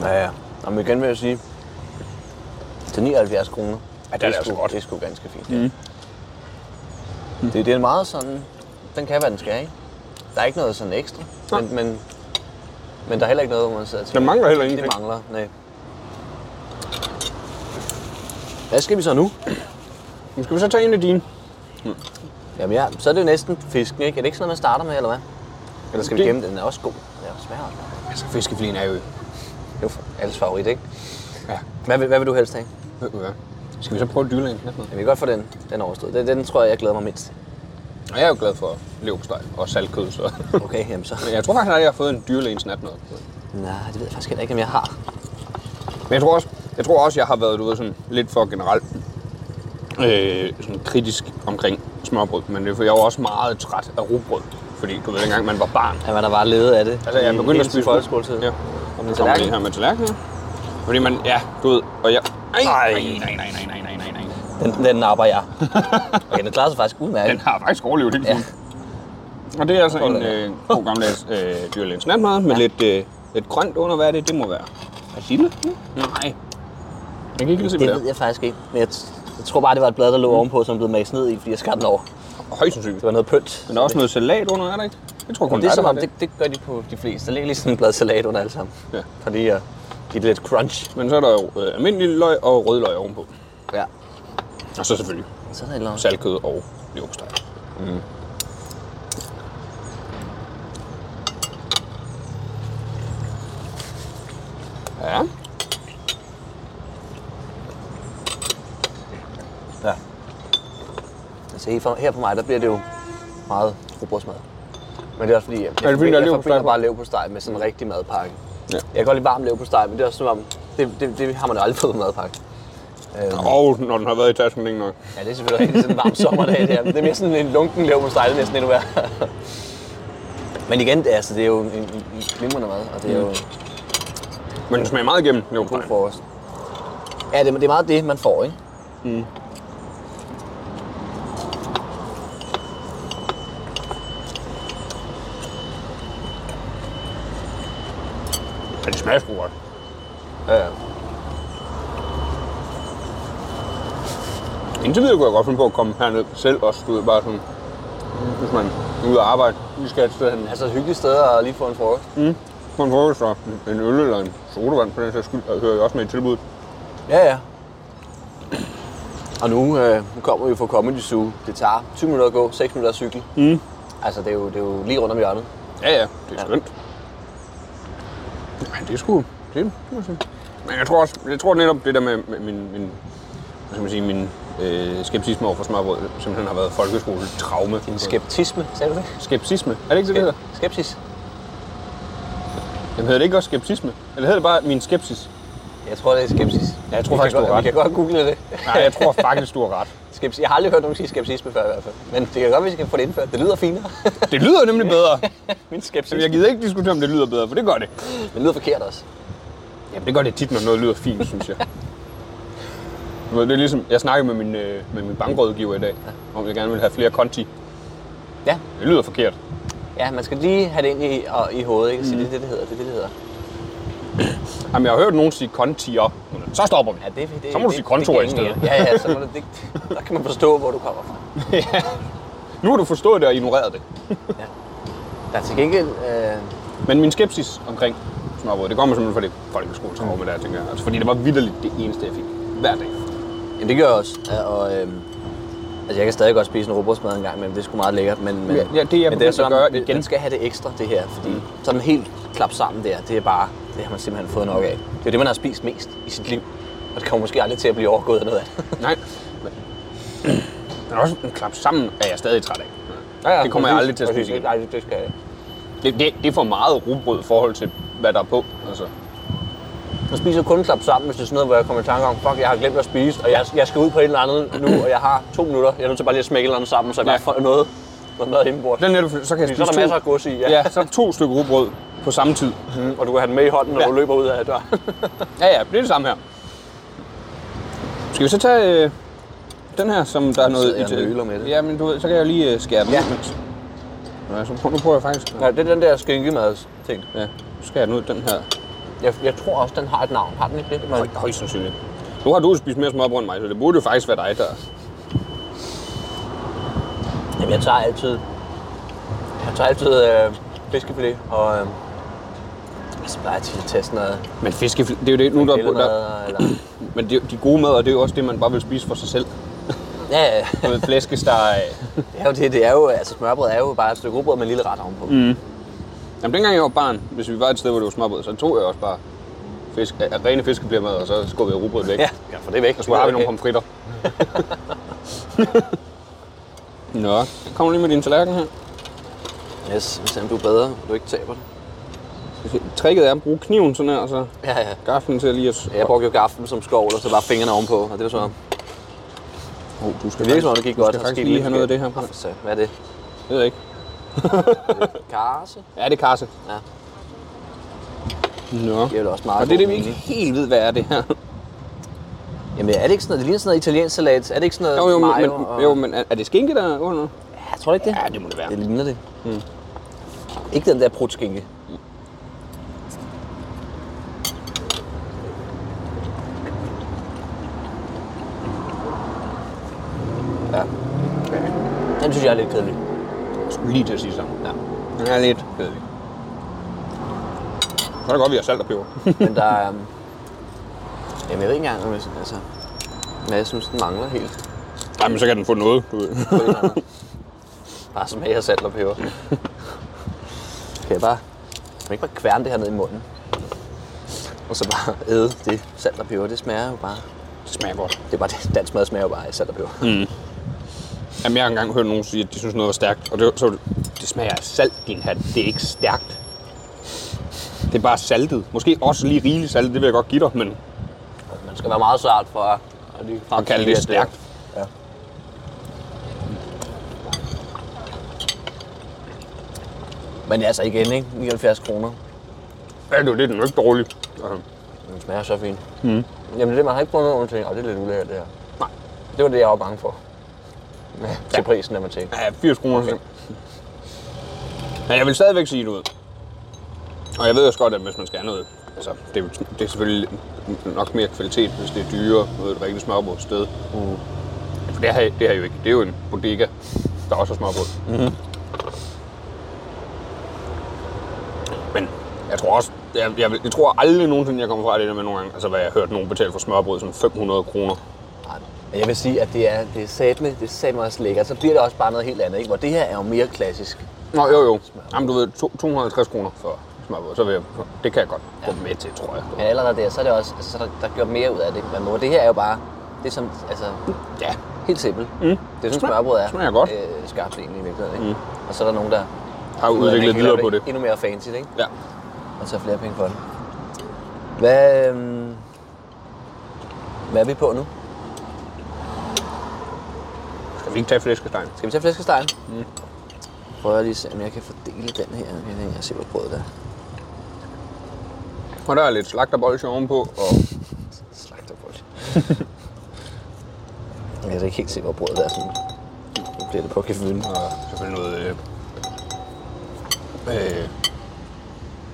[SPEAKER 3] Ja, ja. Jamen igen vil jeg sige, til 79 kroner, ja,
[SPEAKER 1] det er altså
[SPEAKER 3] sgu,
[SPEAKER 1] godt. Mm.
[SPEAKER 3] det er sgu ganske fint. Mm. Det, det er meget sådan, den kan være, den skal, ikke? Der er ikke noget sådan ekstra, men, men, men der er heller ikke noget, hvor man sidder til.
[SPEAKER 1] Der mangler heller ingenting.
[SPEAKER 3] Det mangler, nej. Hvad skal vi så nu?
[SPEAKER 1] Men skal vi så tage en af dine?
[SPEAKER 3] Jamen ja, så er det jo næsten fisken, ikke? Er det ikke sådan noget, man starter med, eller hvad? Eller skal vi
[SPEAKER 1] Det-
[SPEAKER 3] gemme den? Den er også god. Den er smager også godt.
[SPEAKER 1] Altså, fiskeflin er jo...
[SPEAKER 3] Det er jo alles favorit, ikke?
[SPEAKER 1] Ja,
[SPEAKER 3] Hvad vil, hvad vil du helst have?
[SPEAKER 1] ved du hvad. Skal vi så prøve at dyle en knap med?
[SPEAKER 3] Jeg vil godt få den, den overstået. Den, den tror jeg, jeg glæder mig mindst. til.
[SPEAKER 1] Og jeg er jo glad for leverpostej og saltkød, så...
[SPEAKER 3] Okay, jamen så.
[SPEAKER 1] Men jeg tror faktisk, at jeg har fået en dyrlægens natmad.
[SPEAKER 3] Nej, det ved jeg faktisk heller ikke, om jeg har.
[SPEAKER 1] Men jeg tror også, jeg, tror også, jeg har været du ved, sådan lidt for generelt øh, sådan kritisk omkring smørbrød. Men det er, for jeg var også meget træt af rugbrød. Fordi du ved, dengang man var barn,
[SPEAKER 3] Jamen, der var ledet af det.
[SPEAKER 1] Altså, jeg
[SPEAKER 3] i-
[SPEAKER 1] begyndte
[SPEAKER 3] hele
[SPEAKER 1] at spise
[SPEAKER 3] folkeskoletid.
[SPEAKER 1] Ja.
[SPEAKER 3] Og
[SPEAKER 1] Nu
[SPEAKER 3] min
[SPEAKER 1] kommer lige
[SPEAKER 3] tallerken,
[SPEAKER 1] her med tallerkenen. Fordi man, ja, du ved, og jeg... Ej, nej, nej, nej, nej, nej, nej, nej, nej.
[SPEAKER 3] den, den napper jeg. Okay, den klarer sig faktisk udmærket.
[SPEAKER 1] Den har faktisk overlevet det.
[SPEAKER 3] Ja.
[SPEAKER 1] Ja. Og det er altså
[SPEAKER 3] Skål,
[SPEAKER 1] en øh, god gammeldags øh, dyrlægens natmad med lidt, øh, lidt grønt under. Hvad er det? Det må være persille? Nej. Jeg kan ikke lige se, hvad
[SPEAKER 3] Det ved
[SPEAKER 1] det
[SPEAKER 3] jeg faktisk ikke. Men jeg, t- jeg tror bare, det var et blad, der lå ovenpå, som blev mast ned i, fordi jeg skar den over.
[SPEAKER 1] er. Højst sandsynligt.
[SPEAKER 3] Det var noget pynt.
[SPEAKER 1] Men der er også noget salat under, er der ikke? Jeg tror kun
[SPEAKER 3] Det er
[SPEAKER 1] dig,
[SPEAKER 3] som
[SPEAKER 1] der
[SPEAKER 3] om,
[SPEAKER 1] har
[SPEAKER 3] det, det gør de på de fleste. Der ligger lige sådan en blad salat under alle sammen.
[SPEAKER 1] Ja.
[SPEAKER 3] For lige at give det lidt crunch.
[SPEAKER 1] Men så er der jo øh, almindelig løg og rødløg ovenpå.
[SPEAKER 3] Ja.
[SPEAKER 1] Og så selvfølgelig
[SPEAKER 3] Så er der et eller andet.
[SPEAKER 1] saltkød og leverpostej. Mm. Ja.
[SPEAKER 3] Ja. Altså her for, her for mig, der bliver det jo meget rugbrødsmad. Men det er også fordi, jeg, jeg,
[SPEAKER 1] fordi, der er
[SPEAKER 3] jeg, jeg
[SPEAKER 1] leverpostej
[SPEAKER 3] forbinder
[SPEAKER 1] på?
[SPEAKER 3] bare leverpostej med sådan en rigtig madpakke.
[SPEAKER 1] Ja.
[SPEAKER 3] Jeg kan godt lide varm leverpostej, men det er også som om, det, det, det har man jo aldrig fået i madpakke. Øhm,
[SPEAKER 1] Og når den har været i tasken længe nok.
[SPEAKER 3] ja, det er selvfølgelig rigtig sådan en varm sommerdag, det her. Men det er mere sådan en lunken leverpostej, det er næsten endnu værre. men igen, det er, altså, det er jo en, en, en glimrende mad, og det er
[SPEAKER 1] Mm.
[SPEAKER 3] jo
[SPEAKER 1] Men den smager meget igennem,
[SPEAKER 3] god
[SPEAKER 1] leverpostejen.
[SPEAKER 3] frokost. Ja, det, det er meget det, man får, ikke?
[SPEAKER 1] Ja, det smager sgu godt.
[SPEAKER 3] Ja, ja.
[SPEAKER 1] Indtil videre kunne jeg godt finde på at komme herned selv også. Du ved, bare sådan, hvis man er ude at arbejde. Vi skal et sted hen.
[SPEAKER 3] Altså et hyggeligt sted at lige få en frokost.
[SPEAKER 1] Få en frokost og en øl eller en sodavand, for den sags skyld, og hører jo også med i tilbuddet.
[SPEAKER 3] Ja, ja. Og nu, øh, nu kommer vi fra Comedy Zoo. Det tager 20 minutter at gå, 6 minutter at cykle. Mm. Altså, det er, jo, det er jo lige rundt om hjørnet.
[SPEAKER 4] Mm.
[SPEAKER 1] Ja, ja, det er skønt. Nej, det er sgu... Det, er- det må jeg sige. Men jeg tror også, jeg tror netop det der med, med min, min, hvad skal man sige, min øh, skepsisme over for smørbrød, simpelthen har været folkeskole-traume.
[SPEAKER 3] Din skeptisme, sagde du det?
[SPEAKER 1] skepsisme. Er det ikke det, det hedder?
[SPEAKER 3] Skepsis?
[SPEAKER 1] Jamen hedder det ikke også skepsisme? Eller hedder det bare min skepsis?
[SPEAKER 3] Jeg tror, det er skepsis.
[SPEAKER 1] Ja, jeg tror
[SPEAKER 3] vi
[SPEAKER 1] faktisk,
[SPEAKER 3] kan
[SPEAKER 1] du har
[SPEAKER 3] godt,
[SPEAKER 1] ret.
[SPEAKER 3] Vi kan godt google det.
[SPEAKER 1] Nej, jeg tror faktisk, du har ret.
[SPEAKER 3] Skepsis. Jeg har aldrig hørt nogen sige skepsisme før i hvert fald. Men det kan godt, vi skal få det indført. Det lyder finere.
[SPEAKER 1] Det lyder nemlig bedre.
[SPEAKER 3] Min
[SPEAKER 1] Så
[SPEAKER 3] skepsis.
[SPEAKER 1] jeg gider ikke diskutere, om det lyder bedre, for det gør det.
[SPEAKER 3] Men det lyder forkert også.
[SPEAKER 1] Jamen, det gør det tit, når noget lyder fint, synes jeg. Du ved, Det er ligesom, jeg snakkede med min, øh, med min bankrådgiver i dag, om jeg gerne vil have flere konti.
[SPEAKER 3] Ja,
[SPEAKER 1] Det lyder forkert.
[SPEAKER 3] ja man skal lige have det ind i, og, i hovedet. Ikke? Så det er det, det hedder. Det er det, det hedder.
[SPEAKER 1] Jamen, jeg har hørt nogen sige kontier. Så stopper vi.
[SPEAKER 3] Ja, det, det,
[SPEAKER 1] Så må du
[SPEAKER 3] det-
[SPEAKER 1] sige kontor
[SPEAKER 3] det
[SPEAKER 1] i
[SPEAKER 3] er
[SPEAKER 1] stedet.
[SPEAKER 3] genialt. Ja, ja, så må det, det, der kan man forstå, hvor du kommer fra.
[SPEAKER 1] Nu har du forstået det og ignoreret det.
[SPEAKER 3] Der er til gengæld... Øh,
[SPEAKER 1] Men min skepsis omkring smørbrød, det kommer simpelthen fra det folkeskoletraume der, tænker jeg. Altså, fordi det var vidderligt det eneste, jeg fik hver dag.
[SPEAKER 3] Jamen, det gør jeg også. Ja, Og, øhm, altså, jeg kan stadig godt spise en råbrødsmad en gang, men det er sgu meget lækkert. Men, men,
[SPEAKER 1] Ja, ja, det er jeg
[SPEAKER 3] men det er
[SPEAKER 1] begyndt at
[SPEAKER 3] sådan,
[SPEAKER 1] gøre
[SPEAKER 3] det-
[SPEAKER 1] igen.
[SPEAKER 4] Mm.
[SPEAKER 3] Den skal have det ekstra, det her, fordi sådan helt klappe sammen der, det er bare, det har man simpelthen fået nok af. Det er det, man har spist mest i sit liv. Og det kommer måske aldrig til at blive overgået af noget andet.
[SPEAKER 4] Nej. Men, men også en klap sammen er jeg stadig træt af. det kommer jeg aldrig til at spise igen.
[SPEAKER 3] Nej, det skal jeg
[SPEAKER 4] Det, det, det er for meget rugbrød i forhold til, hvad der er på. Altså.
[SPEAKER 3] Jeg spiser kun klap sammen, hvis det er sådan noget, hvor jeg kommer i tanke om, fuck, jeg har glemt at spise, og jeg, jeg skal ud på et eller andet nu, og jeg har to minutter. Jeg er nødt til bare lige at smække et eller andet sammen, så jeg
[SPEAKER 4] Ja.
[SPEAKER 3] bare får noget, noget mad hjemmebord.
[SPEAKER 4] Den er du, så kan jeg
[SPEAKER 3] Så
[SPEAKER 4] spise
[SPEAKER 3] er der
[SPEAKER 4] to,
[SPEAKER 3] masser af gods i, ja.
[SPEAKER 4] ja. ja. så er der to stykker rugbrød på samme tid.
[SPEAKER 3] Mm, og du kan have den med i hånden, når
[SPEAKER 4] Ja.
[SPEAKER 3] du løber ud af døren.
[SPEAKER 4] Ja, ja, det er det samme her. Skal vi så tage øh, den her, som der er noget...
[SPEAKER 3] sidder jeg og
[SPEAKER 4] ital-
[SPEAKER 3] nøler med det.
[SPEAKER 4] Ja, men du ved, så kan jeg jo lige øh, skære den
[SPEAKER 3] Ja.
[SPEAKER 4] ud, mens- Ja, så prøver, nu prøver jeg faktisk...
[SPEAKER 3] ja, det er den der skinkemads ting.
[SPEAKER 4] Ja, nu skærer jeg den ud, den her.
[SPEAKER 3] Jeg, jeg, tror også, den har et navn. Har den ikke det? Man,
[SPEAKER 4] Høj, højst sandsynligt. Nu har du spist mere smørbrød end mig, så det burde jo faktisk være dig, der...
[SPEAKER 3] jamen, jeg tager altid, jeg tager altid øh, fiskefilet, og øh, så plejer jeg tit at teste noget
[SPEAKER 4] Men fiskeflæ... Det er jo det, nu der, der, der
[SPEAKER 3] grillmad, eller...
[SPEAKER 4] Men de, de gode mader, det er jo også det, man bare vil spise for sig selv.
[SPEAKER 3] Ja, ja, ja.
[SPEAKER 4] Du ved, flæskesteg.
[SPEAKER 3] Det er jo det, det er jo, altså smørbrød er jo bare et stykke rugbrød med en lille ret ovenpå. Mm.
[SPEAKER 4] Jamen, dengang jeg var barn, hvis vi var et sted, hvor det var smørbrød, så tog jeg også bare fisk, øh, rene fiskeblemmer, og så skubbede jeg rugbrødet væk.
[SPEAKER 3] Ja, ja, for det er væk.
[SPEAKER 4] Og så har vi nogle pomfritter. Nå, kom lige med din tallerken her.
[SPEAKER 3] Yes, hvis du er bedre, du ikke taber det.
[SPEAKER 4] Tricket er at bruge kniven sådan her, og så
[SPEAKER 3] Ja, ja.
[SPEAKER 4] gaflen til lige at...
[SPEAKER 3] Jeg brugte jo gaflen som skovl, og så bare fingrene ovenpå, og det var så...
[SPEAKER 4] oh, du skal
[SPEAKER 3] Det virkede som om, det gik
[SPEAKER 4] du
[SPEAKER 3] godt.
[SPEAKER 4] skal
[SPEAKER 3] og
[SPEAKER 4] faktisk
[SPEAKER 3] skete
[SPEAKER 4] lige
[SPEAKER 3] lidt
[SPEAKER 4] have noget af det her
[SPEAKER 3] forskelligt. Nå, for
[SPEAKER 4] på.
[SPEAKER 3] satan, Hvad er det?
[SPEAKER 4] Jeg ved ikke.
[SPEAKER 3] Karse?
[SPEAKER 4] Ja, det er karse.
[SPEAKER 3] Ja.
[SPEAKER 4] Nå.
[SPEAKER 3] Det er jo også meget
[SPEAKER 4] Og det er
[SPEAKER 3] god
[SPEAKER 4] det, vi ikke
[SPEAKER 3] mening.
[SPEAKER 4] helt ved, hvad er det her.
[SPEAKER 3] Jamen, er det ikke sådan noget, det ligner sådan noget italiensk salat? Er det ikke sådan noget
[SPEAKER 4] Jo, jo, men,
[SPEAKER 3] mayo?
[SPEAKER 4] men,
[SPEAKER 3] og-
[SPEAKER 4] jo, men er, er det skinke, der er under?
[SPEAKER 3] Ja, tror du ikke det?
[SPEAKER 4] Ja, det må det være.
[SPEAKER 3] Det ligner det. Mm. Ikke den der prutskinke. Ja. Den synes jeg er lidt kedelig.
[SPEAKER 4] skulle lige til at sige sammen.
[SPEAKER 3] Ja.
[SPEAKER 4] Den er lidt kedelig. Så er det godt, vi har salt og peber.
[SPEAKER 3] Men der er... øhm, Jamen, jeg ved ikke engang, om jeg, altså, men jeg synes, den mangler helt.
[SPEAKER 4] Nej, men så kan den få noget, du ved.
[SPEAKER 3] på et eller andet. Bare smag af salt og peber. Kan jeg bare... Kan man ikke bare kværne det her ned i munden? Og så bare æde det salt og peber. Det smager jo bare...
[SPEAKER 4] Det smager godt.
[SPEAKER 3] Det er bare det. Dansk mad smager jo bare af salt og peber. Mm.
[SPEAKER 4] Jamen, jeg har engang hørt nogen sige, at de synes noget var stærkt. Og det, var- så var det, det smager af salt, din hat. Det er ikke stærkt. Det er bare saltet. Måske også lige rigeligt saltet, det vil jeg godt give dig, men
[SPEAKER 3] Man skal være meget sart for at at lige
[SPEAKER 4] at kalde det stærkt.
[SPEAKER 3] Ja. Men altså igen, ikke? 79 kroner.
[SPEAKER 4] Ja, det er jo det, den er jo ikke dårlig. Altså,
[SPEAKER 3] Den smager så fint. Mm. Jamen det er det, man har ikke prøvet nogen ting. Og det er lidt ulækkert, det her. Nej. Det var det, jeg var bange for. Ja. Til prisen, når man tænkte.
[SPEAKER 4] Ja, 80 kroner. Okay. Men jeg vil stadigvæk sige noget. Og jeg ved også godt, at hvis man skal have noget, altså det er, jo- det er selvfølgelig nok mere kvalitet, hvis det er dyrere ved et rigtigt smørbrød sted. Mm. For det har, det har jeg jo ikke. Det er jo en bodega, der også har smørbrød. Mm-hmm. Men jeg tror også, jeg, jeg, vil- jeg tror aldrig nogensinde, jeg kommer fra det der med nogle gange, altså hvad jeg har hørt nogen betale for smørbrød, sådan 500 kroner.
[SPEAKER 3] Nej, Men jeg vil sige, at det er, det er satme, det er satme også lækkert. Så bliver det også bare noget helt andet, ikke? Hvor det her er jo mere klassisk.
[SPEAKER 4] Nå, jo, jo. Jamen, du ved, to- 250 kroner for smørbrød, så vil jeg, det kan jeg godt gå med til, tror jeg.
[SPEAKER 3] Men allerede der, så er det også, altså, så er der, der gjort mere ud af det. Men hvor det her er jo bare, det er som, altså,
[SPEAKER 4] Ja,
[SPEAKER 3] helt simpelt. Mm. Det er sådan,
[SPEAKER 4] Smager-
[SPEAKER 3] smørbrød er.
[SPEAKER 4] smager godt.
[SPEAKER 3] Øh, skarpt egentlig i virkeligheden, ikke? Mm. Og så er der nogen, der
[SPEAKER 4] har
[SPEAKER 3] finder ud af, at man kan
[SPEAKER 4] udviklet videre
[SPEAKER 3] lave
[SPEAKER 4] på det.
[SPEAKER 3] Endnu mere fancy, ikke?
[SPEAKER 4] Ja.
[SPEAKER 3] Og tager flere penge for det. Hvad, øhm, hvad er vi på nu?
[SPEAKER 4] Skal vi ikke tage flæskestegen?
[SPEAKER 3] Skal vi tage flæskestegen? Mm. Prøver jeg lige at se, om jeg kan fordele den her. Jeg kan ikke se, hvor brødet er.
[SPEAKER 4] Og der er lidt slagterbolsje ovenpå, og
[SPEAKER 3] Slagterbrød. jeg kan ikke helt se, hvor brødet er. Sådan. Nu bliver det på kefyden.
[SPEAKER 4] og selvfølgelig noget... Øh, øh,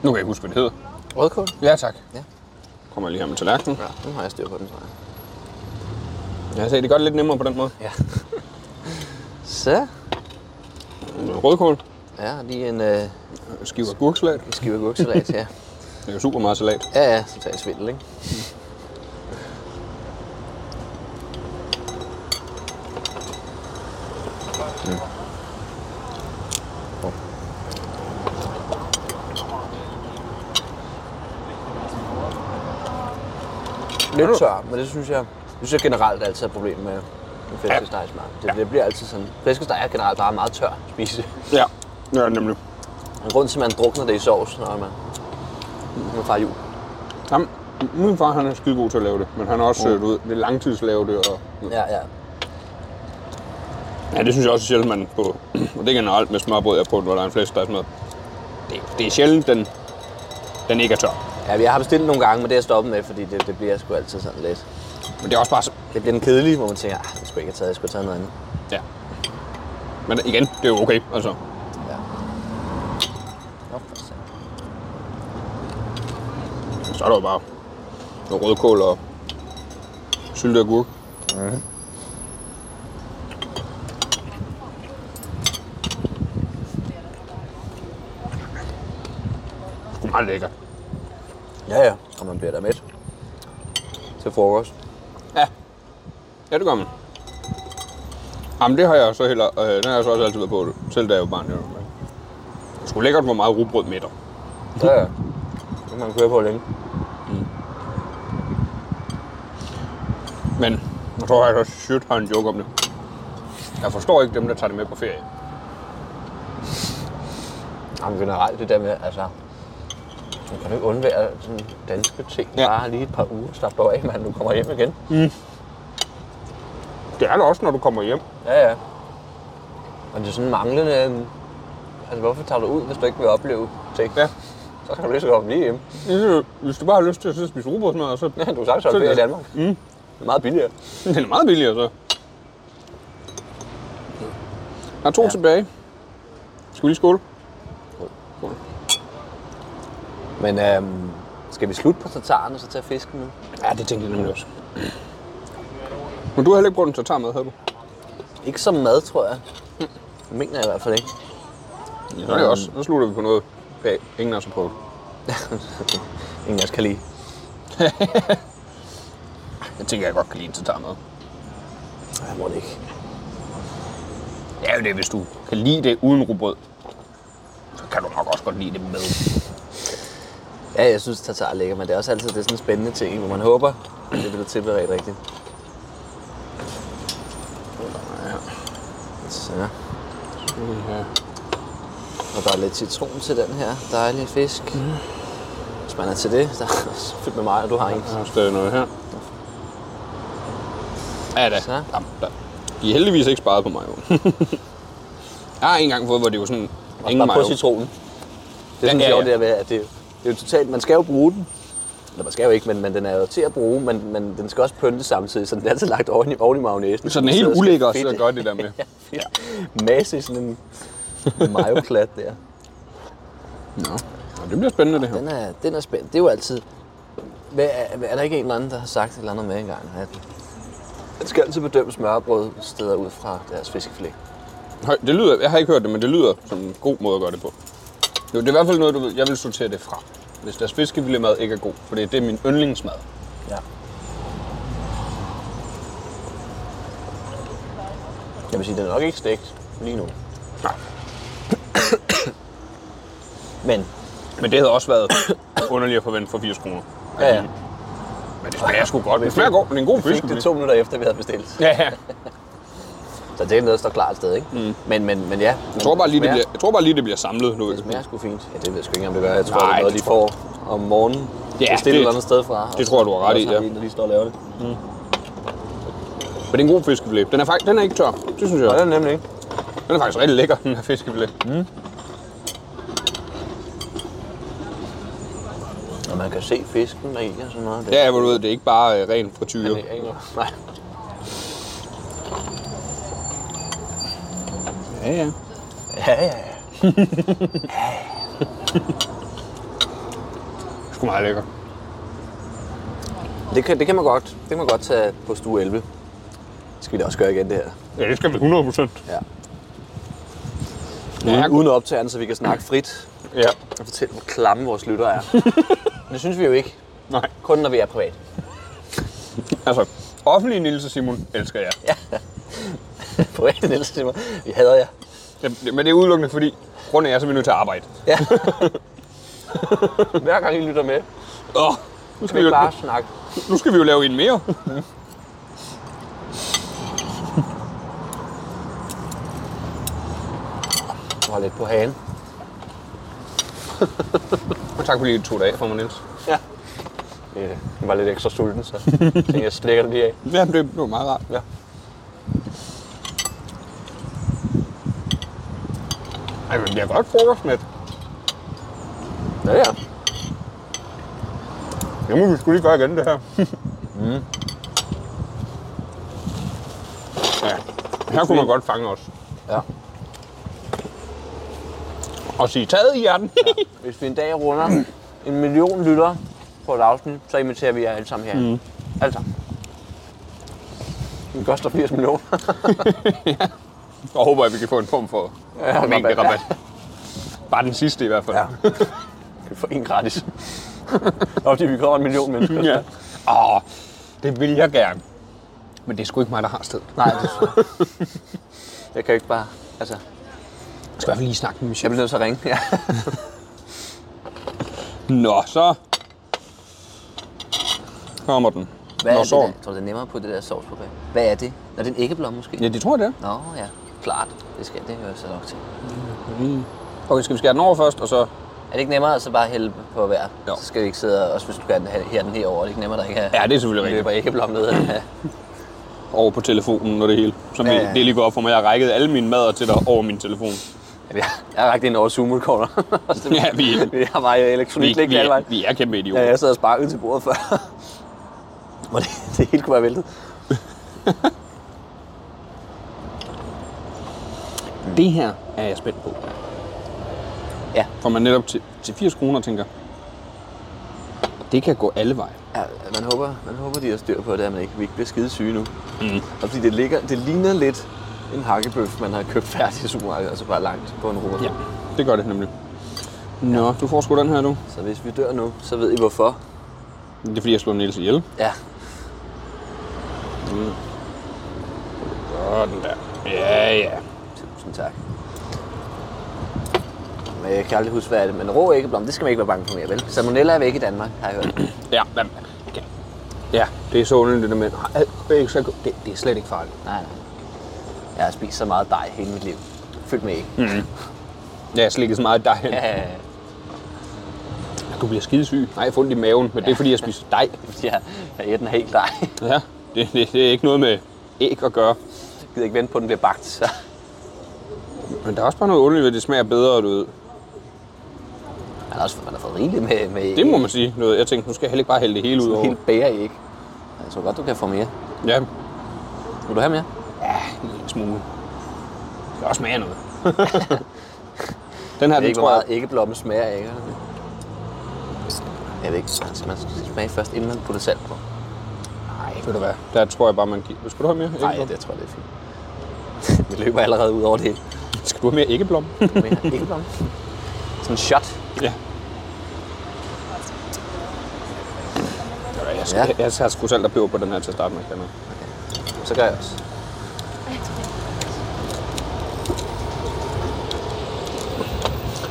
[SPEAKER 4] nu kan jeg ikke huske, hvad det hedder.
[SPEAKER 3] Rødkål?
[SPEAKER 4] Ja, tak.
[SPEAKER 3] Ja.
[SPEAKER 4] Kommer jeg lige her med tallerkenen. Ja.
[SPEAKER 3] Nu har jeg styr på den, tror jeg.
[SPEAKER 4] Jeg se, det gør det lidt nemmere på den måde.
[SPEAKER 3] Ja. Så.
[SPEAKER 4] Noget Rødkål,
[SPEAKER 3] Ja, lige en øh,
[SPEAKER 4] skiver agurksalat.
[SPEAKER 3] skive agurksalat her.
[SPEAKER 4] Det er jo super meget salat.
[SPEAKER 3] Ja, ja, så tager jeg svindel, ikke? lidt tør, men det synes jeg, det synes jeg generelt altid er et problem med, med flæskesteg i smør. Det, det, bliver altid sådan. Flæskesteg er generelt bare meget tør at spise.
[SPEAKER 4] Ja, ja nemlig.
[SPEAKER 3] En grund til, at man drukner det i sovs, når man nu er far jul.
[SPEAKER 4] Jamen, min far han er skide god til at lave det, men han er også, mm. du ved, det er langtidslave det, og
[SPEAKER 3] Ja, ja.
[SPEAKER 4] Ja, det synes jeg også er sjældent, man på, og det er generelt med smørbrød, jeg på, hvor der er en flæskestegsmad. Det, det er sjældent, den, den ikke er tør.
[SPEAKER 3] Ja, jeg har bestilt nogle gange, men det er jeg stoppet med, fordi det, det bliver sgu altid sådan lidt.
[SPEAKER 4] Men det er også bare så,
[SPEAKER 3] Det bliver den kedelige, hvor man tænker, ah, det skulle jeg ikke have taget, jeg skulle have taget noget andet.
[SPEAKER 4] ja. Men igen, det er jo okay, altså.
[SPEAKER 3] Ja. Nå, for satan.
[SPEAKER 4] Så er der jo bare noget rødkål og syltet agurk. Mhm. Mm. Meget lækkert.
[SPEAKER 3] Ja, ja. Og man bliver da mæt. Til frokost.
[SPEAKER 4] Ja. Ja, det gør man. Jamen, det har jeg så heller... Øh, den har jeg så også altid været på, selv da jeg var barn. jo. Det er sgu lækkert, hvor meget rugbrød mætter.
[SPEAKER 3] Ja, ja. Det kan man køre på længe.
[SPEAKER 4] Men jeg tror faktisk også, Sjøt har en joke om det. Jeg forstår ikke dem, der tager det med på ferie.
[SPEAKER 3] Jamen generelt det der med, altså... Man kan jo ikke undvære sådan danske ting.
[SPEAKER 4] Ja.
[SPEAKER 3] Ja. Bare lige et par uger slappe dig af, mand. Du kommer hjem igen.
[SPEAKER 4] Det er det også, når du kommer hjem.
[SPEAKER 3] Ja, ja. Og det er sådan manglende... øhm, Altså, hvorfor tager du ud, hvis du ikke vil opleve ting?
[SPEAKER 4] Ja.
[SPEAKER 3] Så kan du lige så godt blive hjemme.
[SPEAKER 4] Hvis du bare har lyst til at sidde og spise rugbrødsmad, så
[SPEAKER 3] Ja, du har sagt, at
[SPEAKER 4] Så er
[SPEAKER 3] du i
[SPEAKER 4] det-
[SPEAKER 3] Danmark. Mm. Det er meget billigere.
[SPEAKER 4] Den er meget billigere, så. Der er to ja. tilbage. Skal vi lige skåle?
[SPEAKER 3] Men øhm, skal vi slutte på tartaren og så tage fisken nu?
[SPEAKER 4] Ja, det tænkte jeg nemlig også. Men du har heller ikke brugt en tartar med, havde du?
[SPEAKER 3] Ikke som mad, tror jeg. Det mener jeg i hvert fald ikke.
[SPEAKER 4] Ja, det er også. Så slutter vi på noget, ja, ingen af os har prøvet.
[SPEAKER 3] Ingen af os kan lide.
[SPEAKER 4] Jeg tænker, jeg godt kan lide en tartar med.
[SPEAKER 3] Nej, jeg må det ikke.
[SPEAKER 4] Det er jo det, hvis du kan lide det uden rugbrød. Så kan du nok også godt lide det med.
[SPEAKER 3] Ja, jeg synes, tartar er lækker, men det er også altid det er sådan en spændende ting, hvor man håber, at det bliver tilberedt rigtigt. Så. Og der er lidt citron til den her dejlige fisk. Hvis man er til det, så så fedt med mig, og du har en.
[SPEAKER 4] Der er stadig noget her. Ja da.
[SPEAKER 3] Så.
[SPEAKER 4] Jamen, der. De er heldigvis ikke sparet på mig. jeg har engang fået, hvor det var sådan... Ingen
[SPEAKER 3] Ingen bare
[SPEAKER 4] mayo.
[SPEAKER 3] på citronen. Det er sådan
[SPEAKER 4] Ja,
[SPEAKER 3] ja,
[SPEAKER 4] ja,
[SPEAKER 3] sjovt,
[SPEAKER 4] ja.
[SPEAKER 3] det der med, at det, det er jo totalt, man skal jo bruge den. Eller man skal jo ikke, men, men den er jo til at bruge, men, men den skal også pynte samtidig, så den er altid lagt oven i, oven i magnesen.
[SPEAKER 4] Så den er helt
[SPEAKER 3] skal
[SPEAKER 4] ulækker at
[SPEAKER 3] fedte-
[SPEAKER 4] sidde og gøre det der med.
[SPEAKER 3] ja. Masse i sådan en majoklat der.
[SPEAKER 4] Nå. Nå, det bliver spændende det her.
[SPEAKER 3] Den er, den er spændt. Det er jo altid... Hvad er, hvad- er der ikke en eller anden, der har sagt et eller andet med engang? At man skal altid bedømme smørbrød steder ud fra deres fiskefilet.
[SPEAKER 4] Høj, det lyder, jeg har ikke hørt det, men det lyder som en god måde at gøre det på. Jo, det er i hvert fald noget, du ved, jeg vil sortere det fra. Hvis deres fiskefiletmad ikke er god, for det er min yndlingsmad.
[SPEAKER 3] Ja. Jeg vil sige, den er nok ikke stegt lige nu.
[SPEAKER 4] Nej.
[SPEAKER 3] Men
[SPEAKER 4] Men det havde også været underligt at forvente for 80 kroner.
[SPEAKER 3] ja, ja.
[SPEAKER 4] Men det smager sgu godt. Det smager godt, men det er en god
[SPEAKER 3] vi fik
[SPEAKER 4] fiskefilet.
[SPEAKER 3] det to minutter efter, vi havde bestilt.
[SPEAKER 4] Ja, ja.
[SPEAKER 3] Så det er noget, der står klart et sted, ikke? Mm. Men, men, men ja.
[SPEAKER 4] Jeg tror bare lige, det bliver, jeg tror bare lige, det bliver samlet nu.
[SPEAKER 3] Det smager sgu fint. Ja, det ved jeg sgu ikke, om det gør. Jeg tror,
[SPEAKER 4] Nej,
[SPEAKER 3] Nej, det er noget,
[SPEAKER 4] det
[SPEAKER 3] de får om morgenen.
[SPEAKER 4] Ja,
[SPEAKER 3] Ja, det
[SPEAKER 4] det-
[SPEAKER 3] et eller andet sted fra. og
[SPEAKER 4] det
[SPEAKER 3] så-
[SPEAKER 4] tror jeg, du har ret
[SPEAKER 3] og
[SPEAKER 4] i,
[SPEAKER 3] så har
[SPEAKER 4] ja.
[SPEAKER 3] de en, der lige står og laver det.
[SPEAKER 4] Men det er en god fiskefilet. Den er, faktisk, den er ikke tør. Det synes jeg.
[SPEAKER 3] Nej, det er nemlig ikke.
[SPEAKER 4] Den er faktisk rigtig lækker, den her fiskefilet. Mm.
[SPEAKER 3] Og man kan se fisken der i og sådan noget. Det
[SPEAKER 4] Ja, hvor du ved, det er ikke bare øh, ren frityre.
[SPEAKER 3] det er ikke noget. Nej.
[SPEAKER 4] Ja, ja.
[SPEAKER 3] Ja, ja, ja.
[SPEAKER 4] Det er sgu meget lækker.
[SPEAKER 3] Det kan, det kan man godt. Det kan man godt tage på stue 11. Det skal vi da også gøre igen, det her.
[SPEAKER 4] Ja, det skal vi 100 procent.
[SPEAKER 3] Ja.
[SPEAKER 4] Ja, jeg-
[SPEAKER 3] Uden, uden optageren, så vi kan snakke frit
[SPEAKER 4] Ja.
[SPEAKER 3] og fortælle, hvor klamme vores lytter er. Men det synes vi jo ikke.
[SPEAKER 4] Nej.
[SPEAKER 3] Kun når vi er privat.
[SPEAKER 4] Altså, offentlig Nils og Simon elsker jeg. Ja.
[SPEAKER 3] Privat, Niels Simmer. Vi hader jer.
[SPEAKER 4] Det, men det er udelukkende, fordi grunden er, jeg er simpelthen nødt til at arbejde.
[SPEAKER 3] Hver gang I lytter med,
[SPEAKER 4] Åh, Nu
[SPEAKER 3] Skal vi
[SPEAKER 4] jo,
[SPEAKER 3] bare snakke?
[SPEAKER 4] nu skal vi jo lave en mere.
[SPEAKER 3] Hold lidt på hagen.
[SPEAKER 4] Og tak fordi du tog det af for mig, Niels.
[SPEAKER 3] Ja. Jeg var lidt ekstra sulten, så tænkte, jeg slikker det lige af.
[SPEAKER 4] Ja, det, det var meget rart.
[SPEAKER 3] Ja.
[SPEAKER 4] Ej, men det er godt frokostmæt.
[SPEAKER 3] Ja, ja.
[SPEAKER 4] Det må vi skulle lige gøre igen, det her. mm. Ja, her kunne man godt fange os.
[SPEAKER 3] ja.
[SPEAKER 4] Og sige, taget i hjerten.
[SPEAKER 3] Hvis vi en dag runder en million lytter på et afsnit, så inviterer vi jer alle sammen her. Mm. Alle sammen. Det koster 80 millioner.
[SPEAKER 4] Og håber, at vi kan få en form for
[SPEAKER 3] Ja,
[SPEAKER 4] ja, mængde
[SPEAKER 3] rabat.
[SPEAKER 4] rabat. Bare den sidste i hvert fald.
[SPEAKER 3] Ja. Vi får en gratis. Og fordi vi kommer en million mennesker.
[SPEAKER 4] ja. Åh, det vil jeg gerne. Men det er sgu ikke mig, der har stedet.
[SPEAKER 3] Nej, det Jeg kan jo ikke bare... Altså,
[SPEAKER 4] Jeg skal i hvert fald lige snakke med min
[SPEAKER 3] jeg
[SPEAKER 4] chef.
[SPEAKER 3] bliver nødt til at ringe. Ja.
[SPEAKER 4] Nå, så kommer den.
[SPEAKER 3] Hvad
[SPEAKER 4] Nå,
[SPEAKER 3] er det
[SPEAKER 4] så.
[SPEAKER 3] der? Tror du, det er nemmere på det der sovs på bag? Hvad er det? Nå, det er en æggeblom måske?
[SPEAKER 4] Ja, det tror jeg, det er.
[SPEAKER 3] Nå, ja. Klart. Det skal det hører jeg så nok til.
[SPEAKER 4] Okay, skal vi skære den over først, og så...
[SPEAKER 3] Er det ikke nemmere at så bare hælde på hver?
[SPEAKER 4] Jo.
[SPEAKER 3] Så skal vi ikke sidde og, også hvis du kan have her den her over, er det ikke nemmere, der ikke er
[SPEAKER 4] Ja, det er selvfølgelig rigtigt.
[SPEAKER 3] løber æggeblom ned. ad-
[SPEAKER 4] Over på telefonen og det hele. Som
[SPEAKER 3] Ja,
[SPEAKER 4] ja,
[SPEAKER 3] ja.
[SPEAKER 4] ja. det lige går op for mig. Jeg har rækket alle mine mader til dig over min telefon.
[SPEAKER 3] Jamen, jeg, jeg har rakt ind over zoom -udkorner.
[SPEAKER 4] Ja, vi,
[SPEAKER 3] Vi har meget
[SPEAKER 4] vi,
[SPEAKER 3] elektronik
[SPEAKER 4] vi, vi,
[SPEAKER 3] liggende alle
[SPEAKER 4] er,
[SPEAKER 3] vejen.
[SPEAKER 4] vi er kæmpe idioter.
[SPEAKER 3] Ja, jeg sad og sparkede til bordet før. Og det, det hele kunne være væltet.
[SPEAKER 4] Det her er jeg spændt på.
[SPEAKER 3] Ja.
[SPEAKER 4] For man netop til, til 80 kroner tænker, det kan gå alle veje.
[SPEAKER 3] Ja, man håber, man håber, de har styr på det, at man ikke, vi ikke bliver skide syge nu. Mm. Og fordi det, ligger, det ligner lidt en hakkebøf, man har købt færdig i supermarkedet, altså bare langt på en rute.
[SPEAKER 4] Ja, det gør det nemlig. Nå, du får sgu den her, du.
[SPEAKER 3] Så hvis vi dør nu, så ved I hvorfor.
[SPEAKER 4] Det er fordi, jeg slår Niels ihjel.
[SPEAKER 3] Ja,
[SPEAKER 4] Åh, den der. Ja, ja.
[SPEAKER 3] tusind tak. Men jeg kan aldrig huske, hvad er det. Men rå æggeblom, det skal man ikke være bange for mere, vel? Salmonella er væk i Danmark, har jeg hørt.
[SPEAKER 4] Ja, men, ja. ja det er så underligt, det der med, "Ej, det er ikke så godt." det, det er slet ikke farligt.
[SPEAKER 3] Nej, nej. Jeg har spist så meget dej hele mit liv. Fyldt med æg. Mm.
[SPEAKER 4] Ja, jeg slikker så meget dej hen. Ja.
[SPEAKER 3] Ja,
[SPEAKER 4] Du bliver skidesyg. Nej, jeg får ondt i maven, men det er fordi, jeg spiser dej.
[SPEAKER 3] fordi jeg, jeg æder den helt dej.
[SPEAKER 4] Ja, det, det, det er ikke noget med æg at gøre.
[SPEAKER 3] Jeg gider ikke vente på, at den bliver bagt. Så.
[SPEAKER 4] Men der er også bare noget underligt ved, at det smager bedre, du ved.
[SPEAKER 3] Man har, også, man har fået rigeligt med, med æg.
[SPEAKER 4] Det må man sige. Noget. Jeg tænkte, nu skal jeg heller ikke bare hælde det hele ud
[SPEAKER 3] Sådan
[SPEAKER 4] over.
[SPEAKER 3] en hel bager æg. Jeg tror godt, du kan få mere.
[SPEAKER 4] Ja,
[SPEAKER 3] Vil du have mere?
[SPEAKER 4] en smule. Det skal også smage af noget. den her,
[SPEAKER 3] Jeg ved
[SPEAKER 4] den
[SPEAKER 3] ikke, hvor
[SPEAKER 4] tror
[SPEAKER 3] meget
[SPEAKER 4] jeg...
[SPEAKER 3] æggeblommen smager af. eller hvad? Jeg ved ikke, man skal, man skal smage først, inden man putter salt på.
[SPEAKER 4] Nej, ved du hvad? Der tror jeg bare, man giver... Skal du have mere
[SPEAKER 3] Nej,
[SPEAKER 4] æggeblom?
[SPEAKER 3] det tror jeg, det er fint. Vi løber allerede ud over det hele.
[SPEAKER 4] Skal du have mere æggeblom?
[SPEAKER 3] Mere æggeblom. Sådan en shot.
[SPEAKER 4] ja. Ved du hvad, Jeg, skal,
[SPEAKER 3] Ja.
[SPEAKER 4] jeg, jeg tager sgu salt og peber på den her til at starte med. kan jeg?
[SPEAKER 3] Så gør jeg også.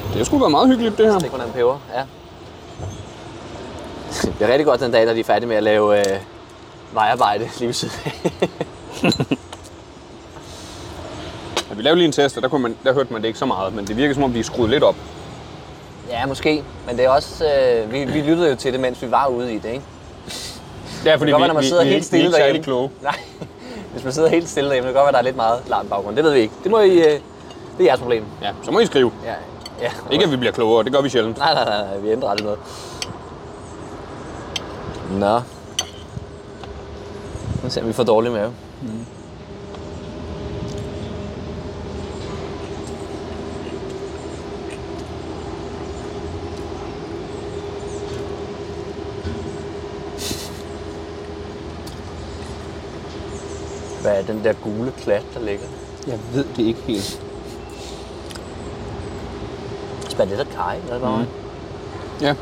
[SPEAKER 4] Det har sgu været meget hyggeligt, det her.
[SPEAKER 3] Det kunne en peber, ja. Det bliver rigtig godt den dag, når de er færdige med at lave øh, vejarbejde lige ved siden af.
[SPEAKER 4] Ja, vi lavede lige en test, og der, kunne man, der hørte man det ikke så meget, men det virker som om, de er skruet lidt op.
[SPEAKER 3] Ja, måske. Men det er også... Øh, vi, vi lyttede jo til det, mens vi var ude i det, ikke?
[SPEAKER 4] Ja,
[SPEAKER 3] Det kan
[SPEAKER 4] fordi
[SPEAKER 3] godt
[SPEAKER 4] vi,
[SPEAKER 3] være, når man
[SPEAKER 4] vi,
[SPEAKER 3] sidder
[SPEAKER 4] vi,
[SPEAKER 3] helt
[SPEAKER 4] vi er
[SPEAKER 3] stille
[SPEAKER 4] ikke særlig
[SPEAKER 3] derhjemme.
[SPEAKER 4] kloge.
[SPEAKER 3] Nej, hvis man sidder helt stille derhjemme, det kan godt være, der er lidt meget larm i baggrunden. Det ved vi ikke. Det må I... Øh, det er jeres problem.
[SPEAKER 4] Ja, så må I skrive.
[SPEAKER 3] Ja, ja.
[SPEAKER 4] Ikke, at vi bliver klogere, det gør vi sjældent.
[SPEAKER 3] Nej, nej, nej, nej, vi ændrer aldrig noget. Nå. Nu ser vi får dårlig mave. Mm. Hvad er den der gule klat, der ligger?
[SPEAKER 4] Jeg ved det ikke helt.
[SPEAKER 3] Spaghetti kaj, eller hvad mm.
[SPEAKER 4] Ja.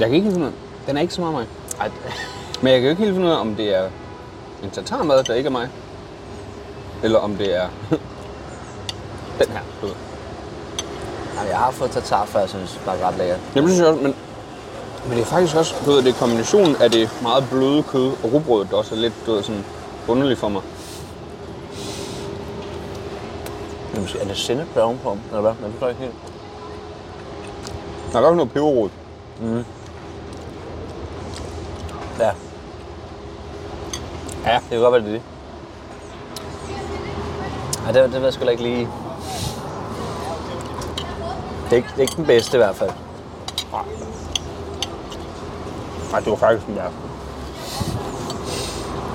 [SPEAKER 4] Jeg kan ikke helt finde ud af- Den er ikke så meget mig.
[SPEAKER 3] Ej,
[SPEAKER 4] Men jeg kan jo ikke helt finde ud af, om det er en tatarmad, der ikke er mig. Eller om det er den her. Du ved.
[SPEAKER 3] Jamen, jeg har fået tartar før, jeg synes det var ret lækkert.
[SPEAKER 4] Jamen, det synes jeg også, men Men det er faktisk også, du ved, det er kombinationen af det meget bløde kød og rugbrød, der også er lidt, du ved, sådan underligt for mig.
[SPEAKER 3] Men måske er det sennep der er ovenpå, eller hvad? Jeg forstår ikke helt.
[SPEAKER 4] Der er godt noget peberrod.
[SPEAKER 3] Ja.
[SPEAKER 4] Ja.
[SPEAKER 3] Det kan godt være, det er det. Ej, det, det ved jeg sgu da ikke lige. Det er, ikke, det er ikke den bedste i hvert fald.
[SPEAKER 4] Nej, det var faktisk den værste.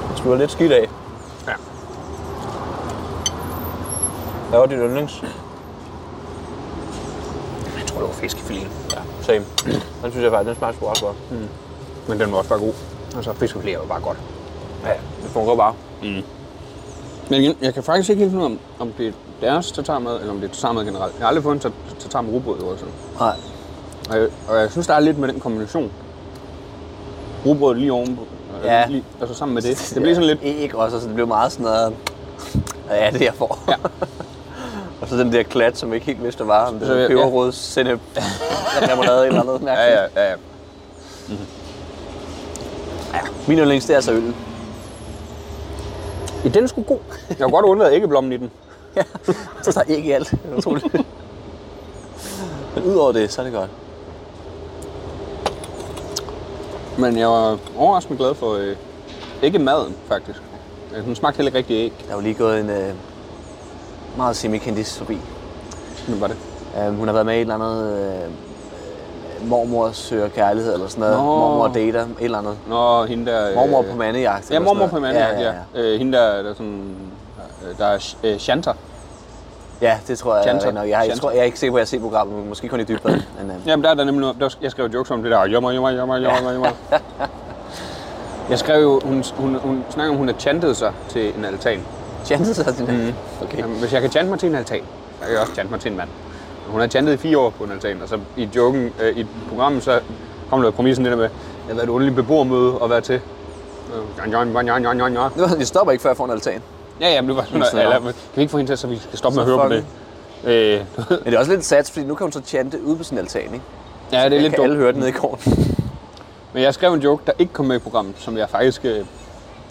[SPEAKER 3] Det skulle være lidt skidt af.
[SPEAKER 4] Ja.
[SPEAKER 3] Hvad var dit yndlings?
[SPEAKER 4] Jeg tror, det var fiskefiléen. Ja.
[SPEAKER 3] Same. Den synes jeg faktisk, den smagte sgu også godt.
[SPEAKER 4] Mm. Men den var også bare god. Altså, fiskefiléen var bare godt.
[SPEAKER 3] Ja, det fungerer bare.
[SPEAKER 4] Mm. Men igen, jeg kan faktisk ikke helt finde ud af, om- om det er deres tatarmad, eller om det er tatarmad generelt. Jeg har aldrig fået en tat- tatar med rugbrød, jo altså.
[SPEAKER 3] Nej.
[SPEAKER 4] Og jeg, og jeg synes, der er lidt med den kombination. Rugbrød lige ovenpå. øh,
[SPEAKER 3] Ja.
[SPEAKER 4] Lige, altså sammen med det. Det bliver sådan lidt...
[SPEAKER 3] Ikke også, altså det blev meget sådan noget... Hvad er det, jeg får?
[SPEAKER 4] Ja.
[SPEAKER 3] og så den der klat, som jeg ikke helt vidste, hvad var. Om det
[SPEAKER 4] Så,
[SPEAKER 3] var
[SPEAKER 4] ja.
[SPEAKER 3] peberrod, sennep, remoulade eller noget mærkeligt.
[SPEAKER 4] Ja, ja, ja, ja.
[SPEAKER 3] Min yndlings, det er altså øllen.
[SPEAKER 4] ja den er sgu god. Jeg har godt undværet æggeblommen i den.
[SPEAKER 3] Så der er ikke alt. Det er utroligt. Men udover det, så er det godt.
[SPEAKER 4] Men jeg var overraskende glad for øh, ikke maden, faktisk. Øh, Den smagte heller ikke rigtig æg,
[SPEAKER 3] Der er jo lige gået en øh, meget semikendis forbi.
[SPEAKER 4] men var det.
[SPEAKER 3] Øh, hun har været med i et eller andet... Øh, øh, mormor søger kærlighed eller sådan noget.
[SPEAKER 4] Nå.
[SPEAKER 3] Mormor dater, et eller andet.
[SPEAKER 4] Nå, hende der... Øh,
[SPEAKER 3] Mormor på mandejagt.
[SPEAKER 4] Ja,
[SPEAKER 3] eller
[SPEAKER 4] mormor
[SPEAKER 3] sådan
[SPEAKER 4] på
[SPEAKER 3] noget.
[SPEAKER 4] manden, ja. ja, ja. Øh, hende der, der er sådan... øh, Der er Sh- øh, Shanta.
[SPEAKER 3] Ja, det tror jeg.
[SPEAKER 4] Chanter.
[SPEAKER 3] Chanter. Jeg, jeg, jeg,
[SPEAKER 4] Chanter.
[SPEAKER 3] tror, jeg er ikke sikker på, at jeg har set programmet. Måske kun i dybden. Men, øh,
[SPEAKER 4] Jamen, der er der nemlig noget. Der, jeg skrev jokes om det der. Jommer, jommer, jommer, jommer, jommer. Jeg skrev jo, hun, hun, hun snakker om, hun har chantet sig til en altan.
[SPEAKER 3] chances er det mm. Okay.
[SPEAKER 4] Jamen, hvis jeg kan chante mig til en altan, så kan jeg også chante mig til en mand. Hun har chantet i fire år på en altan, og så i joken, øh, i programmet, så kom der præmissen det der med, at jeg har været et underligt beboermøde at være til. Øh, ja, ja, ja, ja, ja, ja.
[SPEAKER 3] Nu, jeg stopper ikke, før jeg får en altan.
[SPEAKER 4] Ja, ja, men det var sådan,
[SPEAKER 3] Sådan.
[SPEAKER 4] eller, kan vi ikke få hende til, så vi kan stoppe med at
[SPEAKER 3] Så
[SPEAKER 4] høre på det? Øh,
[SPEAKER 3] Men det er også lidt sats, fordi nu kan hun så chante ude på sin altan, ikke?
[SPEAKER 4] ja, det er lidt
[SPEAKER 3] kan alle
[SPEAKER 4] dumt.
[SPEAKER 3] høre den nede i korn.
[SPEAKER 4] Men jeg skrev en joke, der ikke kom med i programmet, som jeg faktisk... Øh, det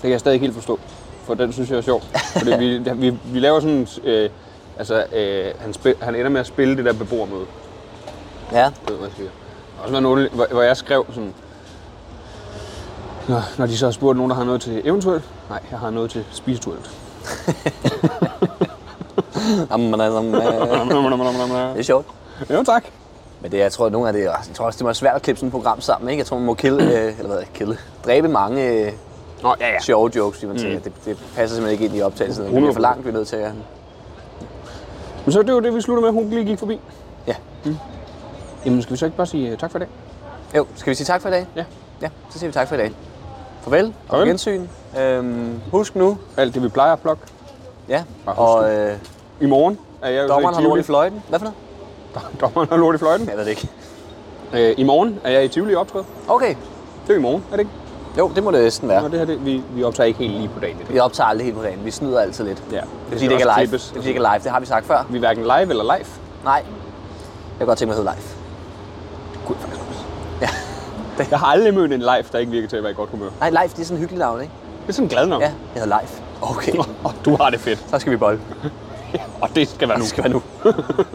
[SPEAKER 4] kan jeg stadig ikke helt forstå, for den synes jeg er sjov. Fordi vi, vi, vi laver sådan... Øh, altså, øh, han, spil, han ender med at spille det der beboermøde.
[SPEAKER 3] Ja.
[SPEAKER 4] Jeg ved, hvad jeg siger. Der har Også været nogle, hvor, hvor jeg skrev sådan... Når, når de så har spurgt nogen, der har noget til eventuelt. Nej, jeg har noget til spisetuelt.
[SPEAKER 3] Jamen, altså, øh, det er sjovt.
[SPEAKER 4] jo, tak.
[SPEAKER 3] Men det, jeg tror, at nogle af det, jeg tror også, det må være svært at klippe sådan et program sammen, ikke? Jeg tror, man må kille, øh, eller hvad, kille, dræbe mange øh,
[SPEAKER 4] Nå, ja, Mm. ja.
[SPEAKER 3] sjove jokes, fordi man tænker, det, det, passer simpelthen ikke ind i optagelsen. Det bliver for langt, vi er nødt til at...
[SPEAKER 4] Men så er det jo det, vi slutter med. Hun lige gik forbi.
[SPEAKER 3] Ja.
[SPEAKER 4] Jamen, skal vi så ikke bare sige øh, tak for i dag?
[SPEAKER 3] Jo, skal vi sige tak for i dag?
[SPEAKER 4] Ja.
[SPEAKER 3] Ja, så siger vi tak for i dag. Farvel, og på
[SPEAKER 4] Farvel.
[SPEAKER 3] gensyn. Øhm, husk nu,
[SPEAKER 4] Alt det, vi plejer at plukke.
[SPEAKER 3] ja,
[SPEAKER 4] Bare husk
[SPEAKER 3] og øh,
[SPEAKER 4] I morgen er jeg jo så i
[SPEAKER 3] dommeren har
[SPEAKER 4] Tivoli.
[SPEAKER 3] lort i fløjten. Hvad for noget?
[SPEAKER 4] Dommeren har lort i fløjten.
[SPEAKER 3] Jeg ved det ikke.
[SPEAKER 4] Øh, I morgen er jeg i Tivoli optræde.
[SPEAKER 3] Okay,
[SPEAKER 4] Det er jo i morgen, er det ikke?
[SPEAKER 3] jo, det må det næsten
[SPEAKER 4] Ja.
[SPEAKER 3] være.
[SPEAKER 4] Nå, det her, det, vi, vi optager ikke helt lige på dagen i dag.
[SPEAKER 3] Vi optager aldrig helt på dagen. Vi snyder altid lidt.
[SPEAKER 4] Ja,
[SPEAKER 3] Det er
[SPEAKER 4] det
[SPEAKER 3] fordi,
[SPEAKER 4] skal
[SPEAKER 3] det ikke
[SPEAKER 4] også
[SPEAKER 3] er live.
[SPEAKER 4] klippes.
[SPEAKER 3] Det er fordi, det ikke er live. Det har vi sagt før.
[SPEAKER 4] Vi er hverken live eller live.
[SPEAKER 3] Nej. Jeg kan godt tænke mig at hedde live.
[SPEAKER 4] Gud, faktisk også.
[SPEAKER 3] Ja.
[SPEAKER 4] Jeg har aldrig mødt en live, der ikke virker til at være i godt humør.
[SPEAKER 3] Nej, live, det er sådan en hyggelig navn, ikke?
[SPEAKER 4] Det er sådan glad nok.
[SPEAKER 3] Ja, jeg hedder live. Okay.
[SPEAKER 4] Og du har det fedt.
[SPEAKER 3] Så skal vi bolle.
[SPEAKER 4] Og det skal være nu.
[SPEAKER 3] Det skal være nu.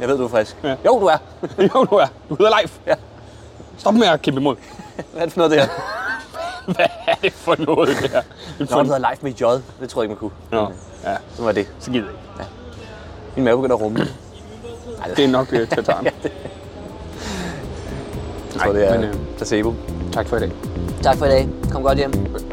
[SPEAKER 3] Jeg ved, du er frisk. Jo, du er.
[SPEAKER 4] jo, du er. Du hedder live.
[SPEAKER 3] Ja.
[SPEAKER 4] Stop med at kæmpe imod.
[SPEAKER 3] Hvad er det for noget, det her?
[SPEAKER 4] Hvad er det for noget, det her? En
[SPEAKER 3] Nå,
[SPEAKER 4] fund-
[SPEAKER 3] det hedder live med J. Det tror jeg ikke, man kunne.
[SPEAKER 4] Nå, ja.
[SPEAKER 3] Så var det.
[SPEAKER 4] Så gider jeg ikke.
[SPEAKER 3] Min mave begynder at rumme.
[SPEAKER 4] Det er nok uh, tataren.
[SPEAKER 3] Jeg tror, det
[SPEAKER 4] men,
[SPEAKER 3] er
[SPEAKER 4] øh,
[SPEAKER 3] øh, placebo.
[SPEAKER 4] Tak for i dag.
[SPEAKER 3] Tak for i dag. Kom godt hjem.